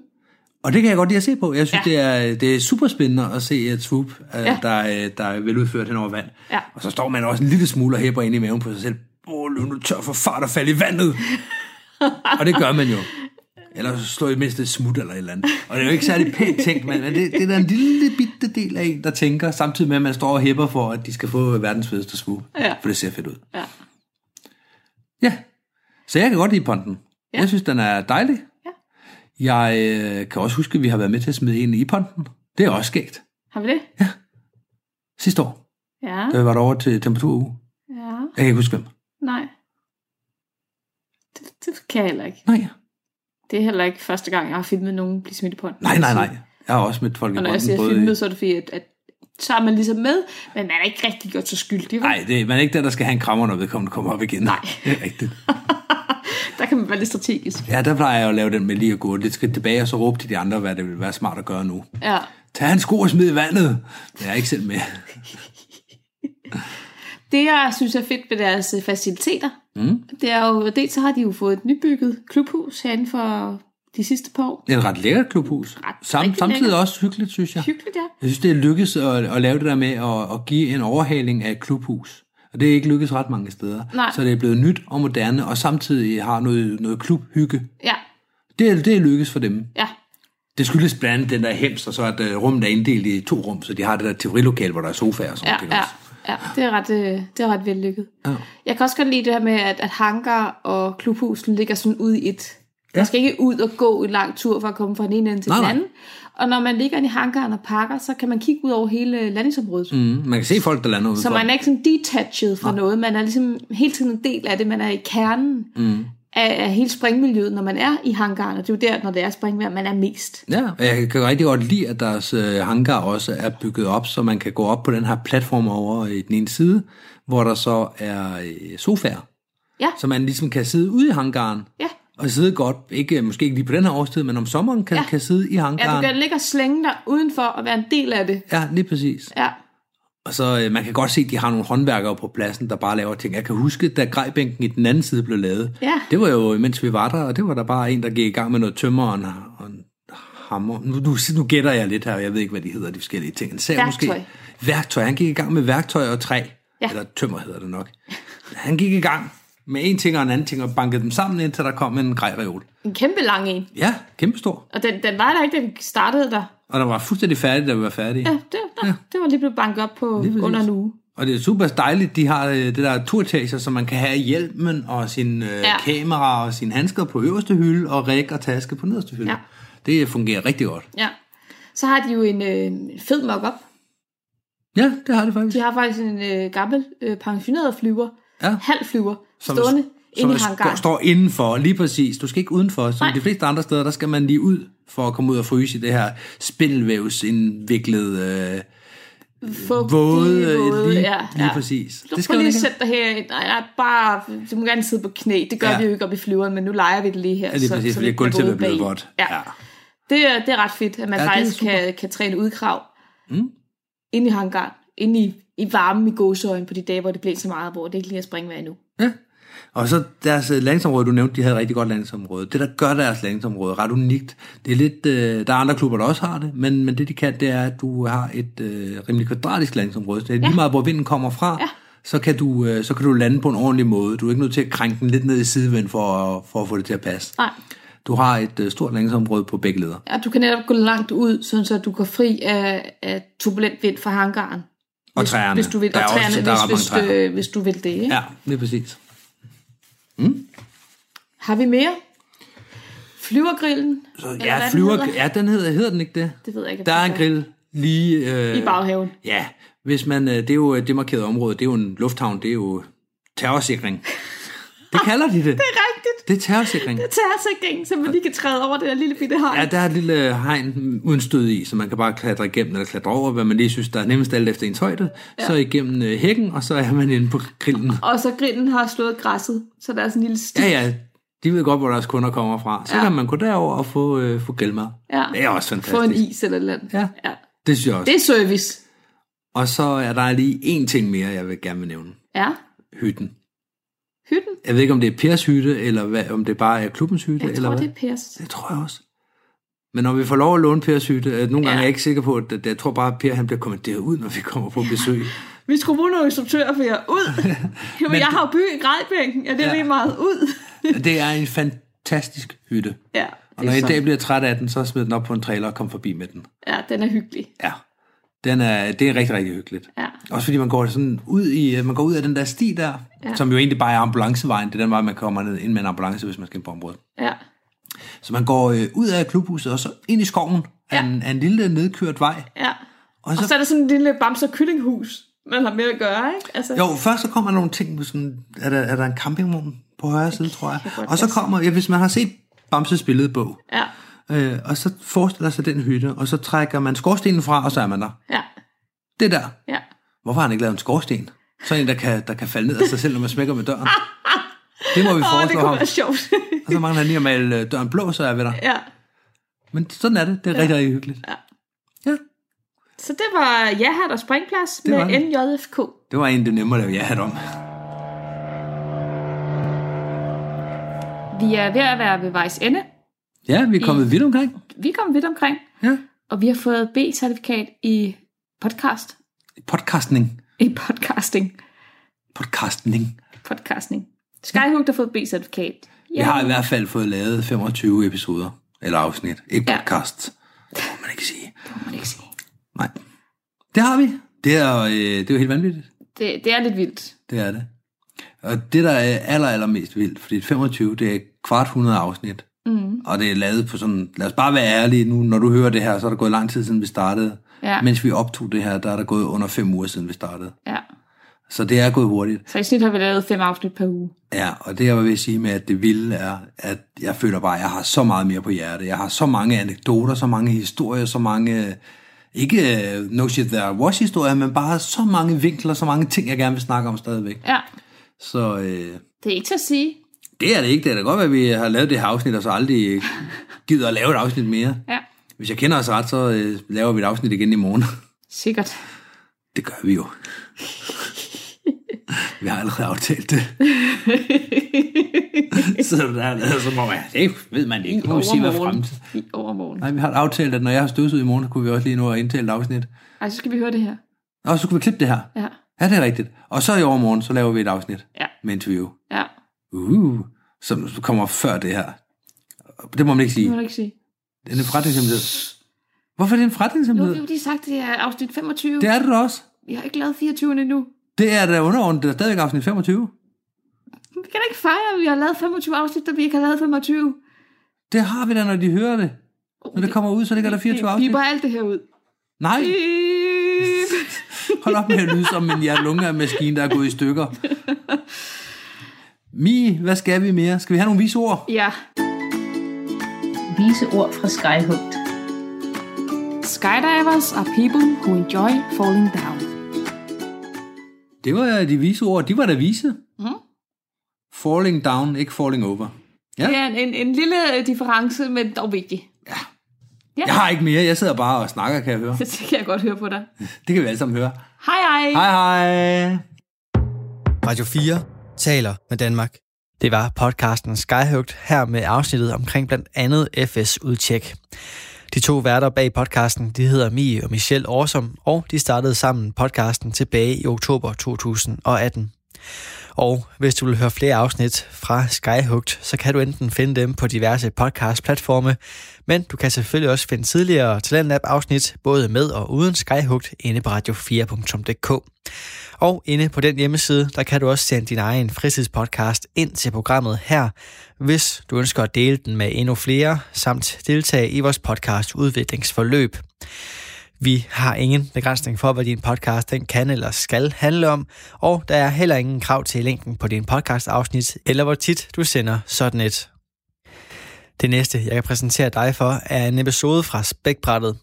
B: Og det kan jeg godt lide at se på. Jeg synes, ja. det, er, det er super spændende at se et swoop, ja. der, er- der er veludført hen over vand.
C: Ja.
B: Og så står man også en lille smule og hæpper ind i maven på sig selv. Åh, løb nu tør for fart og fald i vandet. og det gør man jo. Eller slå i det mindste et smut eller et eller andet. Og det er jo ikke særlig pænt tænkt, men men det, det er da en lille bitte del af en, der tænker, samtidig med, at man står og hæpper for, at de skal få verdens fedeste swoop.
C: Ja.
B: For det ser fedt ud.
C: Ja.
B: Ja. Så jeg kan godt lide ponten. Ja. Jeg synes, den er dejlig.
C: Ja.
B: Jeg øh, kan også huske, at vi har været med til at smide en i ponten. Det er også skægt.
C: Har vi det?
B: Sidste år,
C: Ja.
B: da vi var derovre til temperaturuge.
C: Ja.
B: Jeg kan ikke huske hvem.
C: Nej. Det, det kan jeg heller ikke.
B: Nej.
C: Det er heller ikke første gang, jeg har filmet nogen blive smidt i pond.
B: Nej, nej, nej. Jeg har også mødt folk i
C: Og når jeg
B: ponten.
C: siger
B: både i-
C: filmet, så er det fordi, at, at så er man ligesom med, men man er ikke rigtig gjort så skyldig. vel?
B: Nej, det, man er ikke der, der skal have en krammer, når vedkommende kommer op igen.
C: Nej.
B: Det er rigtigt.
C: Der kan man være lidt strategisk.
B: Ja, der plejer jeg at lave den med lige at gå lidt skridt tilbage, og så råbe til de andre, hvad det ville være smart at gøre nu.
C: Ja.
B: Tag hans sko og smid i vandet. Men jeg er ikke selv med.
C: Det, jeg synes er fedt ved deres øh, faciliteter, mm. det er jo, dels så har de jo fået et nybygget klubhus herinde for de sidste par år.
B: Det er et ret lækkert klubhus.
C: Ret-
B: Sam,
C: rigtig
B: samtidig
C: lækkert.
B: også hyggeligt, synes jeg.
C: Hyggeligt, ja.
B: Jeg synes, det er lykkedes at, at lave det der med at, at give en overhaling af et klubhus. Og det er ikke lykkedes ret mange steder.
C: Nej.
B: Så det er blevet nyt og moderne, og samtidig har noget, noget klubhygge.
C: Ja,
B: Det, er- det er lykkedes for dem.
C: ja,
B: Det skyldes blandt andet den der hems, og så at øh, rummet er inddelt i to rum, så de har det der teorilokal, hvor der er sofaer og sådan
C: ja,
B: noget.
C: ja.
B: også.
C: ja. Det, er ret, øh, det er ret vellykket.
B: Ja.
C: Jeg kan også godt lide det her med, at, at hangar og klubhusen ligger sådan ud i et.
B: Ja.
C: Man skal ikke ud og gå en lang tur for at komme fra den ene ende til
B: Nej,
C: den
B: nej.
C: anden. Og når man ligger inde i hangaren og pakker, så kan man kigge ud over hele landingsområdet. Mm.
B: Mm, man kan se folk, der lander udenfor.
C: Så man er ikke sådan detached fra noget. Man er ligesom hele tiden en del af det. Man er i kernen mm. af, af hele springmiljøet, når man er i hangaren. Og det er jo der, når det er springvejr, man er mest.
B: Ja, og jeg kan rigtig godt lide, at deres øh, hangar også er bygget op, så man kan gå op på den her platform over i den ene side, hvor der så er øh, sofaer.
C: Ja.
B: Så man ligesom kan sidde ude i hangaren.
C: Ja.
B: Og sidde godt, ikke, måske ikke lige på den her årstid, men om sommeren kan, ja.
C: Ja.
B: kan sidde i
C: Ja, du
B: hangaren.
C: kan ligge og slænge dig udenfor og være en del af det.
B: Ja, lige præcis.
C: Ja,
B: Og så øh, man kan godt se, at de har nogle håndværkere på pladsen, der bare laver ting. Jeg kan huske, da grejbænken i den anden side blev lavet.
C: Ja.
B: Det var jo, mens vi var der, og det var der bare en, der gik i gang med noget tømmer og en, og en hammer. Nu, nu, nu gætter jeg lidt her, og jeg ved ikke, hvad de hedder, de forskellige ting. En sav
C: Værktøj.
B: Måske. Værktøj. Han gik i gang med værktøj og træ.
C: Ja.
B: Eller tømmer hedder det nok. Han gik i gang med en ting og en anden ting, og bankede dem sammen, indtil der kom en grejreol.
C: En kæmpe lang en.
B: Ja, kæmpestor.
C: Og den, den var der ikke, den startede der.
B: Og der var fuldstændig færdig, da vi var færdige.
C: Ja, det, der, ja. det var lige blevet banket op på
B: præcis.
C: under en uge.
B: Og det er super dejligt, de har øh, det der turtager, som man kan have i hjelmen og sin øh,
C: Ja.
B: ja. kamera og sine handsker på øverste hylde og ræk og taske på nederste hylde.
C: Ja.
B: Ja. Det fungerer rigtig godt.
C: Ja. Så har de jo en øh, fed mock-up.
B: Ja, det har det faktisk.
C: De har faktisk en øh, gammel øh, pensioneret flyver,
B: Ja.
C: halv flyver, stående
B: som
C: inde i
B: sk-
C: hangaren.
B: står indenfor, lige præcis. Du skal ikke udenfor. Som
C: Nej.
B: Nej. de fleste andre steder, der skal man lige ud for at komme ud og fryse i det her spindelvævsindviklede øh,
C: Fugtige,
B: våde. øh, lige,
C: ja,
B: lige
C: ja.
B: præcis.
C: Du skal lige
B: man
C: at
B: ikke have.
C: sætte dig herind. Nej, jeg er bare, du må gerne sidde på knæ. Det gør ja.
B: Ja.
C: vi jo ikke op i flyveren, men nu leger vi det lige her.
B: Ja, lige præcis, fordi
C: vi kan
B: gulvtæppet
C: gå
B: er blevet
C: bag.
B: vådt.
C: Ja. ja. Det, er, det er ret fedt, at man
B: Ja,
C: ja,
B: det er
C: faktisk
B: super.
C: kan, kan træne udkrav mm. inde i hangaren, inde i, i varmen i gåsøjen på de dage, hvor det blev så meget, hvor det ikke lige er springvejr endnu.
B: Ja. Og så deres øh, landingsområde, du nævnte, de havde et rigtig godt landingsområde. Det, der gør deres landingsområde ret unikt, det er lidt, øh, der er andre klubber, der også har det, men, men det de kan, det er, at du har et øh, rimelig kvadratisk landingsområde. Så det er lige meget, hvor vinden kommer fra, ja. så, kan du, øh, så kan du lande på en ordentlig måde. Du er ikke nødt til at krænke den lidt ned i sidevind for, at- for at få det til at passe.
C: Nej.
B: Du har et øh, stort landingsområde på begge leder.
C: Ja, du kan netop gå langt ud, sådan så du går fri af, af turbulent vind fra hangaren.
B: Og
C: hvis,
B: træerne.
C: Hvis du vil,
B: Der er
C: og
B: også-
C: træerne,
B: der er ret mange
C: hvis, hvis,
B: træer.
C: øh, hvis du vil det. Ikke?
B: Ja, det er præcis.
C: Har vi mere? Flyvergrillen?
B: Så,
C: Eller hvad
B: ja,
C: den
B: flyver,
C: hedder?
B: ja, den hedder, hedder den ikke det?
C: Det ved jeg ikke.
B: Der er en
C: om den
B: grill lige... Øh,
C: I baghaven.
B: Ja, hvis man, øh, det er jo øh, det markerede område, det er jo en lufthavn, det er jo terrorsikring. Det kalder de det. det,
C: Det er rigtigt.
B: det er terrorsikring.
C: Terrorsikringen, så man lige kan træde over det der lille bitte hegn.
B: Ja, der er et lille øh, hegn uden stød i, så man kan bare klatre igennem eller klatre over, hvad man lige synes, der er nemmest alt efter ens højde. Ja. Så igennem øh, hækken, og så er man inde på grillen.
C: Og så grillen har slået græsset, så der er sådan en lille sti.
B: Ja, ja, de ved godt, hvor deres kunder kommer fra. Så
C: Ja.
B: ja. kan man gå derover og få, øh, få grillmad.
C: Ja.
B: Det er også
C: Få en
B: fantastisk.
C: is eller et eller andet.
B: Ja.
C: ja.
B: Det synes jeg også.
C: Det er service.
B: Og så er der lige en ting mere, jeg vil gerne vil nævne.
C: Ja.
B: Hytten.
C: Hytten.
B: Jeg ved ikke, om det er Pers hytte, eller hvad, om det bare er klubbens hytte.
C: Jeg
B: eller
C: tror,
B: hvad?
C: det er Pers.
B: Det tror jeg også. Men når vi får lov at låne Pers hytte, øh, nogle gange
C: Ja.
B: ja. er jeg ikke sikker på, at at jeg tror bare, at Per han bliver kommet derud, når vi kommer på besøg.
C: Vi skulle bruge nogle instruktører for jer. Ud! Jamen, jeg har jo by i grædbænken. Ja, det er
B: Ja.
C: lige meget. Ud!
B: det er en fantastisk hytte.
C: ja,
B: Og når
C: det er
B: jeg i
C: sådan.
B: dag bliver træt af den, så smid den op på en trailer og kom forbi med den.
C: ja, den er hyggelig.
B: Ja. Den er, det er rigtig, rigtig hyggeligt.
C: Ja.
B: Også fordi man går sådan ud i, øh, man går ud af den der sti der,
C: Ja.
B: ja. som jo egentlig bare er ambulancevejen. Det er den vej, man kommer ned ind med en ambulance, hvis man skal ind på området.
C: Ja.
B: Så man går øh, ud af klubhuset og så ind i skoven af,
C: Ja.
B: en, af en lille nedkørt vej.
C: ja.
B: Og
C: Og
B: så,
C: så er der sådan en lille bamse- og kyllinghus, man har med at gøre, ikke? Altså,
B: jo, først så kommer der nogle ting, med sådan, er, der, er der en campingvogn på højre side, tror jeg.
C: kan godt
B: Og så kommer, ja, hvis man har set Bamses billedbog,
C: Ja,
B: øh, og så forestiller sig den hytte, og så trækker man skorstenen fra, og så er man der.
C: ja,
B: Det der.
C: ja.
B: Hvorfor har han ikke lavet en skorsten? Så en, der kan, der kan falde ned af sig selv, når man smækker med døren. Det må vi
C: Åh, det
B: foreslå
C: kunne
B: ham.
C: være sjovt.
B: Og så mangler han lige at male øh, døren blå, så er vi der.
C: ja,
B: Men sådan er det. Det er rigtig, rigtig hyggeligt.
C: Ja.
B: ja.
C: så det var Ja Hat og Springplads med
B: var det.
C: NJFK.
B: Det var en, det er nemmere at lave ja om.
C: Vi er ved at være ved vejs ende.
B: Ja, vi er kommet vidt omkring.
C: Vi kom vidt omkring,
B: Ja.
C: og vi har fået B-certifikat i podcast.
B: Podcastning.
C: I podcasting.
B: Podcastning.
C: Podcasting. Skyhook har fået B-certifikat.
B: Jeg har i hvert fald fået lavet 25 episoder. Eller afsnit. Ikke
C: Ja.
B: podcast. Det må man ikke sige.
C: Det må man ikke sige.
B: Nej. Det har vi. Det er, øh, det er jo helt vanvittigt.
C: Det, det er lidt vildt.
B: Det er det. Og det, der er aller, aller mest vildt, fordi 25, det er kvart 100 afsnit. Mm. Og det er lavet på sådan, lad os bare være ærlige nu, når du hører det her, så er der gået lang tid siden vi startede.
C: Ja.
B: Mens vi optog det her, der er der gået under fem uger siden vi startede.
C: Ja.
B: Så det er gået hurtigt.
C: Så i snit har vi lavet fem afsnit per uge.
B: Ja, og det jeg vil sige med, at det vilde er, at jeg føler bare, at jeg har så meget mere på hjerte. Jeg har så mange anekdoter, så mange historier, så mange, ikke øh, no shit there was historier, men bare så mange vinkler, så mange ting, jeg gerne vil snakke om stadigvæk.
C: Ja.
B: Så øh,
C: Det er ikke til at sige.
B: det er det ikke. Det er da godt, være, at vi har lavet det her afsnit, og så aldrig gider at lave et afsnit mere.
C: Ja.
B: Hvis jeg kender os ret, så øh, laver vi et afsnit igen i morgen.
C: Sikkert.
B: Det gør vi jo. vi har allerede aftalt det. så der er lavet som om, ja, det ved man ikke. Nu må vi se, hvad fremtid.
D: I overmorgen.
B: Nej, vi har aftalt, at når jeg har støvsuget i morgen, så kunne vi også lige nå at indtale et afsnit.
D: Ej, så skal vi høre det her.
B: Og så kunne vi klippe det her.
D: Ja.
B: Ja, det er rigtigt. Og så i overmorgen, så laver vi et afsnit
D: Ja.
B: med interview.
D: Ja,
B: Uh, som kommer før det her. Det må man ikke
D: det
B: sige.
D: må du ikke sige.
B: Det er en forretningshemmelighed. Hvorfor er det en
D: Nu har vi
B: forretningshemmelighed?
D: jo lige sagt, det er afsnit 25.
B: Det er det da også.
D: Vi har ikke lavet 24 endnu.
B: Det er da underordnet. Det er stadigvæk afsnit 25.
D: Vi kan da ikke fejre, at vi har lavet 25 afsnit, der vi ikke har lavet 25.
B: Det har vi da, når de hører det. Når det kommer ud, så ligger der 24
D: Vi
B: afsnit.
D: bare alt det her ud.
B: Nej,
D: Beep.
B: hold op med at lyde som en hjertelunge-maskine, der er gået i stykker. Mi, hvad skal vi mere? Skal vi have nogle vise ord?
D: Ja.
E: Vise ord fra Skyhugt.
C: Skydivers are people who enjoy falling down.
B: Det var de vise ord. De var da vise. Mm. Falling down, ikke falling over. Ja.
D: Det er en, en, en lille øh, difference, men dog vigtig.
B: Jeg har ikke mere. Jeg sidder bare og snakker, kan jeg høre.
D: Det kan jeg godt høre på dig.
B: Det kan vi alle sammen høre.
D: Hej hej.
B: Hej hej.
A: Radio 4 taler med Danmark. Det var podcasten Skyhugt her med afsnittet omkring blandt andet FS Udtjek. De to værter bag podcasten, de hedder Mie og Michelle Årsom, og de startede sammen podcasten tilbage i oktober 2018. Og hvis du vil høre flere afsnit fra Skyhugt, så kan du enten finde dem på diverse podcast-platforme, men du kan selvfølgelig også finde tidligere Talentlab-afsnit, både med og uden Skyhugt, inde på radio4.dk. Og inde på den hjemmeside, der kan du også sende din egen fritidspodcast ind til programmet her, hvis du ønsker at dele den med endnu flere, samt deltage i vores podcast udviklingsforløb. Vi har ingen begrænsning for, hvad din podcast den kan eller skal handle om, og der er heller ingen krav til linken på din podcast-afsnit, eller hvor tit du sender sådan et. Det næste, jeg kan præsentere dig for, er en episode fra Spækbrættet.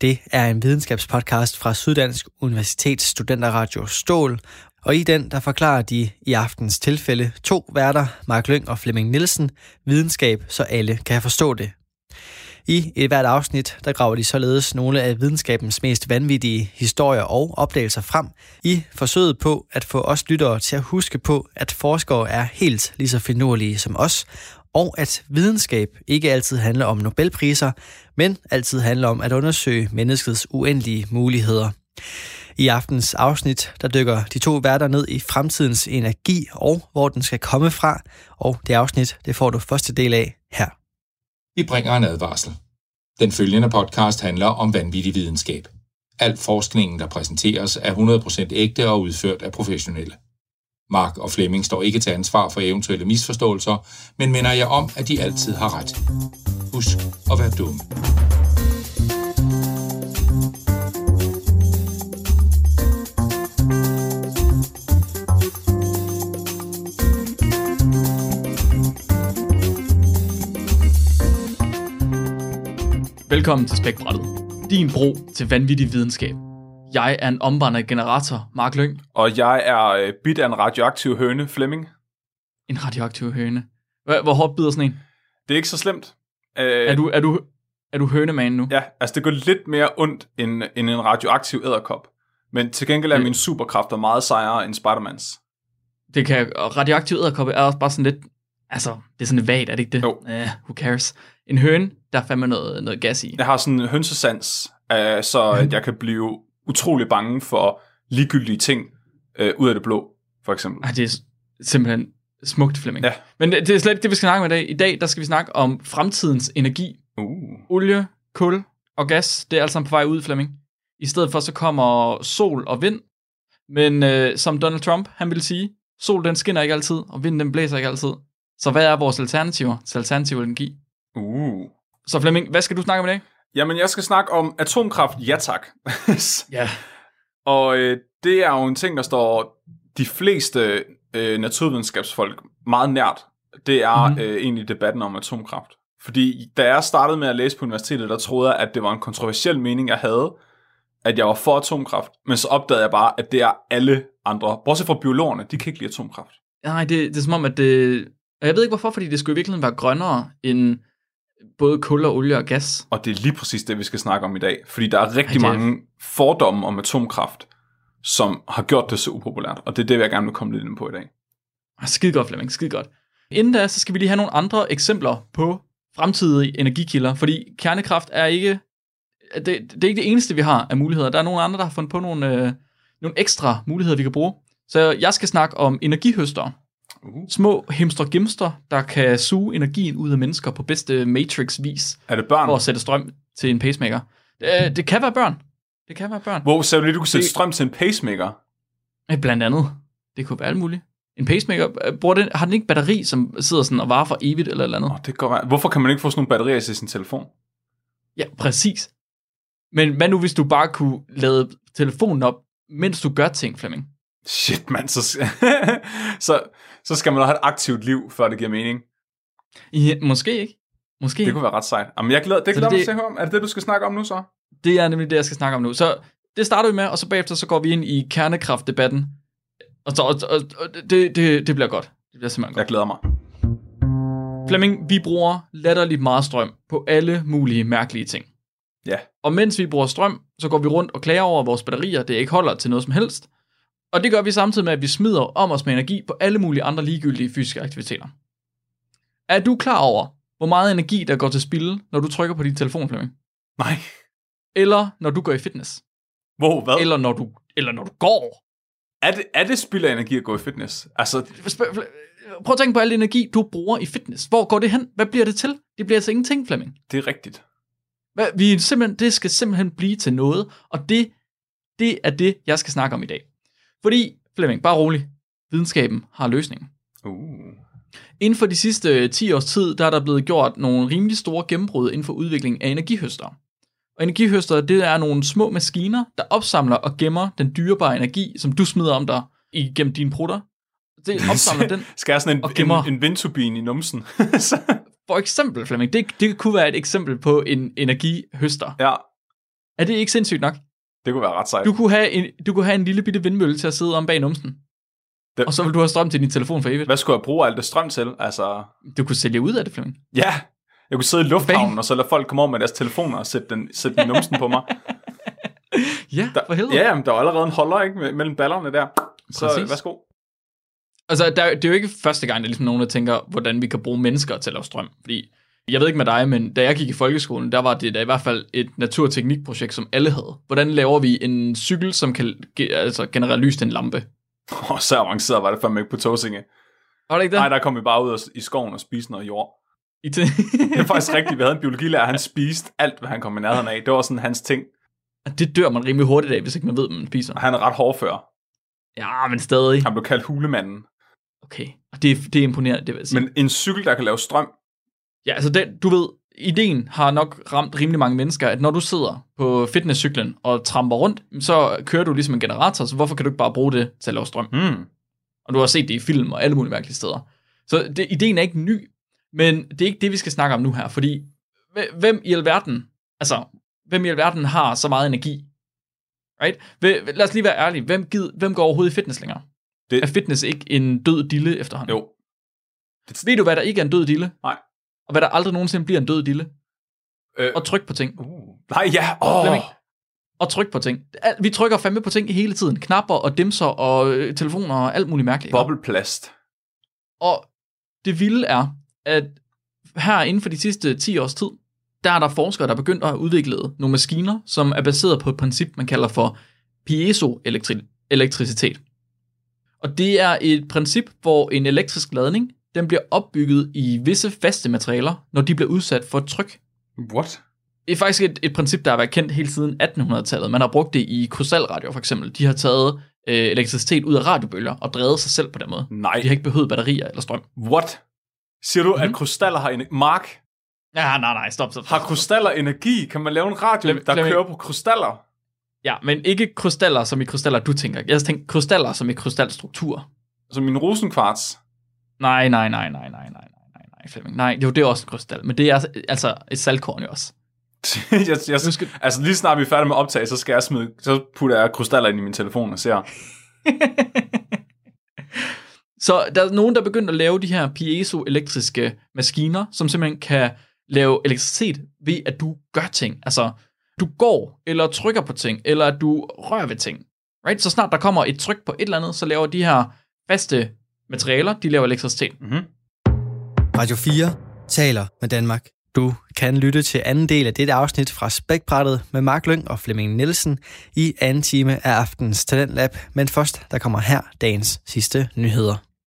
A: Det er en videnskabspodcast fra Syddansk Universitets Studenterradio Stål, og i den der forklarer de i aftens tilfælde to værter, Mark Lyng og Flemming Nielsen, videnskab, så alle kan forstå det. I et hvert afsnit, der graver de således nogle af videnskabens mest vanvittige historier og opdagelser frem, i forsøget på at få os lyttere til at huske på, at forskere er helt lige så finurlige som os, og at videnskab ikke altid handler om Nobelpriser, men altid handler om at undersøge menneskets uendelige muligheder. I aftens afsnit, der dykker de to værter ned i fremtidens energi og hvor den skal komme fra, og det afsnit, det får du første del af her.
F: Vi bringer en advarsel. Den følgende podcast handler om vanvittig videnskab. Al forskningen, der præsenteres, er 100% ægte og udført af professionelle. Mark og Flemming står ikke til ansvar for eventuelle misforståelser, men minder jeg om, at de altid har ret. Husk at være dumme.
G: Velkommen til Spækbrættet. Din bro til vanvittig videnskab. Jeg er en omvandret generator, Mark Lyng,
H: Og jeg er øh, bit af en radioaktiv høne, Flemming.
G: en radioaktiv høne. Hva- Hvor hårdt bider sådan en?
H: Det er ikke så slemt. Øh,
G: Er du, er du, er du hønemand nu?
H: Ja, altså det går lidt mere ondt end, end en radioaktiv æderkop. Men til gengæld er
G: Mm.
H: mine superkræfter meget sejere end Spidermans.
G: Det kan, og radioaktiv æderkoppe er også bare sådan lidt... Altså, det er sådan lidt vagt, er det ikke det?
H: Jo.
G: Uh, who cares? En høne, der er fandme noget, noget gas i.
H: Jeg har sådan en hønsesans, øh, så
G: Mhm.
H: at jeg kan blive utrolig bange for ligegyldige ting øh, ud af det blå, for eksempel.
G: Ej, det er s- simpelthen smukt, Flemming.
H: Ja.
G: Men det, det er slet ikke det, vi skal snakke om i dag. I dag, der skal vi snakke om fremtidens energi.
H: Uh.
G: olie, kul og gas, det er alt sammen på vej ud, Flemming. I stedet for så kommer sol og vind. Men øh, som Donald Trump, han ville sige, sol den skinner ikke altid, og vinden den blæser ikke altid. Så hvad er vores alternativer til alternativ energi?
H: Uh.
G: Så Flemming, hvad skal du snakke om i dag?
H: Jamen, jeg skal snakke om atomkraft, ja tak.
G: Ja.
H: Og øh, det er jo en ting, der står de fleste øh, naturvidenskabsfolk meget nært. Det er
G: Mhm.
H: mm-hmm. øh, egentlig debatten om atomkraft. Fordi da jeg startede med at læse på universitetet, der troede jeg, at det var en kontroversiel mening, jeg havde, at jeg var for atomkraft. Men så opdagede jeg bare, at det er alle andre. Bortset fra biologerne, de kan ikke lide atomkraft.
G: Nej, det, det er som om, at det... og Jeg ved ikke hvorfor, fordi det skulle i virkeligheden være grønnere end både kul og olie og gas.
H: Og det er lige præcis det, vi skal snakke om i dag. Fordi der er rigtig
G: Ej, det er-
H: mange fordomme om atomkraft, som har gjort det så upopulært. Og det er det, jeg gerne vil komme lidt ind på i dag.
G: Ah, Skide godt, Flemming, skide godt. Inden da, så skal vi lige have nogle andre eksempler på fremtidige energikilder, fordi kernekraft er ikke det, det er ikke det eneste, vi har af muligheder. Der er nogle andre, der har fundet på nogle, øh, nogle ekstra muligheder, vi kan bruge. Så jeg skal snakke om energihøster.
H: Uh.
G: Små hemster-gemster, der kan suge energien ud af mennesker på bedste Matrix-vis,
H: Er det børn?
G: for at sætte strøm til en pacemaker. Det, det kan være børn. Det kan være børn.
H: Wow, sagde du lige, du kunne sætte
G: Det-
H: strøm til en pacemaker?
G: Øh, Blandt andet. Det kunne være alt muligt. En pacemaker, øh, bruger den, har den ikke batteri, som sidder sådan og varer for evigt eller et eller andet?
H: Oh, det går ret. Hvorfor kan man ikke få sådan nogle batterier til sin telefon?
G: Ja, præcis. Men hvad nu, hvis du bare kunne lade telefonen op, mens du gør ting, Flemming?
H: Shit, mand. Så, så, så skal man have et aktivt liv, før det giver mening.
G: Ja, måske ikke. Måske
H: Det
G: det,
H: kunne være ret sejt. Jamen, jeg glæder, det
G: Så
H: glæder mig
G: det-
H: til at høre om. Er det det, du skal snakke om nu så?
G: det er nemlig det, jeg skal snakke om nu. Så det starter vi med, og så bagefter så går vi ind i kernekraftdebatten. Og, så, og, og, og det, det, det bliver godt. Det bliver simpelthen godt.
H: Jeg glæder mig.
G: Mm. Flemming, vi bruger latterligt meget strøm på alle mulige mærkelige ting.
H: Ja.
G: Og mens vi bruger strøm, så går vi rundt og klager over, at vores batterier det ikke holder til noget som helst. Og det gør vi samtidig med, at vi smider om os med energi på alle mulige andre ligegyldige fysiske aktiviteter. Er du klar over, hvor meget energi, der går til spilde, når du trykker på din telefon, Flemming?
H: Nej.
G: Eller når du går i fitness?
H: Wow, hvad?
G: Eller når du, eller når du går?
H: Er det, er det spild af energi at gå i fitness? Altså,
G: Sp- Fle- Prøv at tænke på al den energi, du bruger i fitness. Hvor går det hen? Hvad bliver det til? Det bliver altså ingenting, Flemming.
H: det er rigtigt.
G: Hvad, vi er simpelthen, det skal simpelthen blive til noget, og det, det er det, jeg skal snakke om i dag. Fordi, Flemming, bare rolig, videnskaben har løsningen.
H: Uh.
G: Inden for de sidste 10 års tid, der er der blevet gjort nogle rimelig store gennembrud inden for udviklingen af energihøster. Og energihøster, det er nogle små maskiner, der opsamler og gemmer den dyrebare energi, som du smider om dig igennem dine prutter. Det opsamler den.
H: Skal jeg sådan en,
G: Og gemmer.
H: en, en vindturbine i numsen? så,
G: For eksempel, Flemming, det, det kunne være et eksempel på en energihøster.
H: ja,
G: Er det ikke sindssygt nok?
H: det kunne være ret sejt.
G: Du kunne, have en, du kunne have en lille bitte vindmølle til at sidde om bag numsen.
H: Det-
G: Og så vil du have strøm til din telefon for evigt.
H: Hvad skulle jeg bruge alt det strøm til? Altså,
G: Du kunne sælge ud af det, Flemming.
H: ja. Jeg kunne sidde i lufthavnen, og så lade folk komme over med deres telefoner og sætte den, sætte den i numsen på mig.
G: Ja,
H: Der,
G: for helvede.
H: ja, jamen, der var allerede en holder ikke, me- mellem ballerne der. Så
G: Præcis.
H: Præcis. værsgo.
G: Altså, der, det er jo ikke første gang, der er ligesom nogen, der tænker, hvordan vi kan bruge mennesker til at lave strøm. Fordi, jeg ved ikke med dig, men da jeg gik i folkeskolen, der var det da i hvert fald et naturteknikprojekt, som alle havde. Hvordan laver vi en cykel, som kan ge, altså, generere lys til en lampe?
H: Oh, så avanceret var det fandme ikke på Tåsinge.
G: Var det ikke det?
H: Nej, der kom vi bare ud og- i skoven og spiste noget jord.
G: I t-
H: Det er faktisk rigtigt. Vi havde en biologilærer, han spiste alt, hvad han kom i nærheden af. Det var sådan hans ting.
G: det dør man rimelig hurtigt af, hvis ikke man ved, hvad man spiser.
H: Og han er ret hårdfør.
G: Ja, men stadig.
H: Han blev kaldt hulemanden.
G: Okay. Og det, det er imponerende, det vil jeg sige.
H: Men en cykel, der kan lave strøm,
G: Ja, altså den, du ved, ideen har nok ramt rimelig mange mennesker, at når du sidder på fitnesscyklen og tramper rundt, så kører du ligesom en generator, så hvorfor kan du ikke bare bruge det til at lave strøm?
H: mm.
G: Og du har set det i film og alle mulige mærkelige steder. Så det, ideen er ikke ny, men det er ikke det, vi skal snakke om nu her, fordi hve- hvem i alverden, altså, hvem i alverden har så meget energi? Right? Hve- Lad os lige være ærlige. Hvem, gid, hvem går overhovedet i fitness længere?
H: Det-
G: Det... Er fitness ikke en død dille efterhånden?
H: jo,
G: Ved du, hvad der ikke er en død dille?
H: Nej.
G: Og hvad der aldrig nogensinde bliver en død dille?
H: Øh.
G: Og tryk på ting.
H: Uh. Nej, ja. Åh,
G: Flemming. Og tryk på ting. Al- Vi trykker fandme på ting hele tiden. Knapper og dimser og øh, telefoner og alt muligt mærkeligt.
H: bobleplast.
G: Og det vilde er, at her inden for de sidste 10 års tid, der er der forskere, der er begyndt at udvikle nogle maskiner, som er baseret på et princip, man kalder for piezoelektricitet. Og det er et princip, hvor en elektrisk ladning, den bliver opbygget i visse faste materialer, når de bliver udsat for et tryk.
H: What?
G: Det er faktisk et, et princip, der har været kendt hele siden 1800-tallet. Man har brugt det i krystalradioer for eksempel. De har taget øh, elektricitet ud af radiobølger og drevet sig selv på den måde.
H: Nej.
G: De har ikke behøvet batterier eller strøm.
H: What? Siger du,
G: Hmm?
H: at krystaller har energi? Mark,
G: Ja, nej, nej, stop, stop. stop.
H: har krystaller energi? Kan man lave en radio,
G: Flemming-
H: der
G: Flemming.
H: kører på krystaller?
G: Ja, men ikke krystaller, som i krystaller, du tænker. Jeg tænker krystaller, som i krystalstruktur.
H: Som Altså, min rosenkvarts.
G: Nej, nej, nej, nej, nej, nej, nej, nej, nej, Flemming. Nej, jo, det er også en krystal, men det er altså et saltkorn jo også.
H: jeg, jeg,
G: Nu skal-
H: Altså lige snart vi er færdige med optag, så skal jeg smide, så putter jeg krystaller ind i min telefon og ser.
G: Så der er nogen, der er begyndt at lave de her piezoelektriske maskiner, som simpelthen kan lave elektricitet ved, at du gør ting. Altså, du går, eller trykker på ting, eller at du rører ved ting. Right? Så snart der kommer et tryk på et eller andet, så laver de her faste materialer, de laver elektricitet.
A: Radio 4 taler med Danmark. Du kan lytte til anden del af dette afsnit fra Spækbrættet med Mark Lyng og Flemming Nielsen i anden time af aftens Talentlab, men først der kommer her dagens sidste nyheder.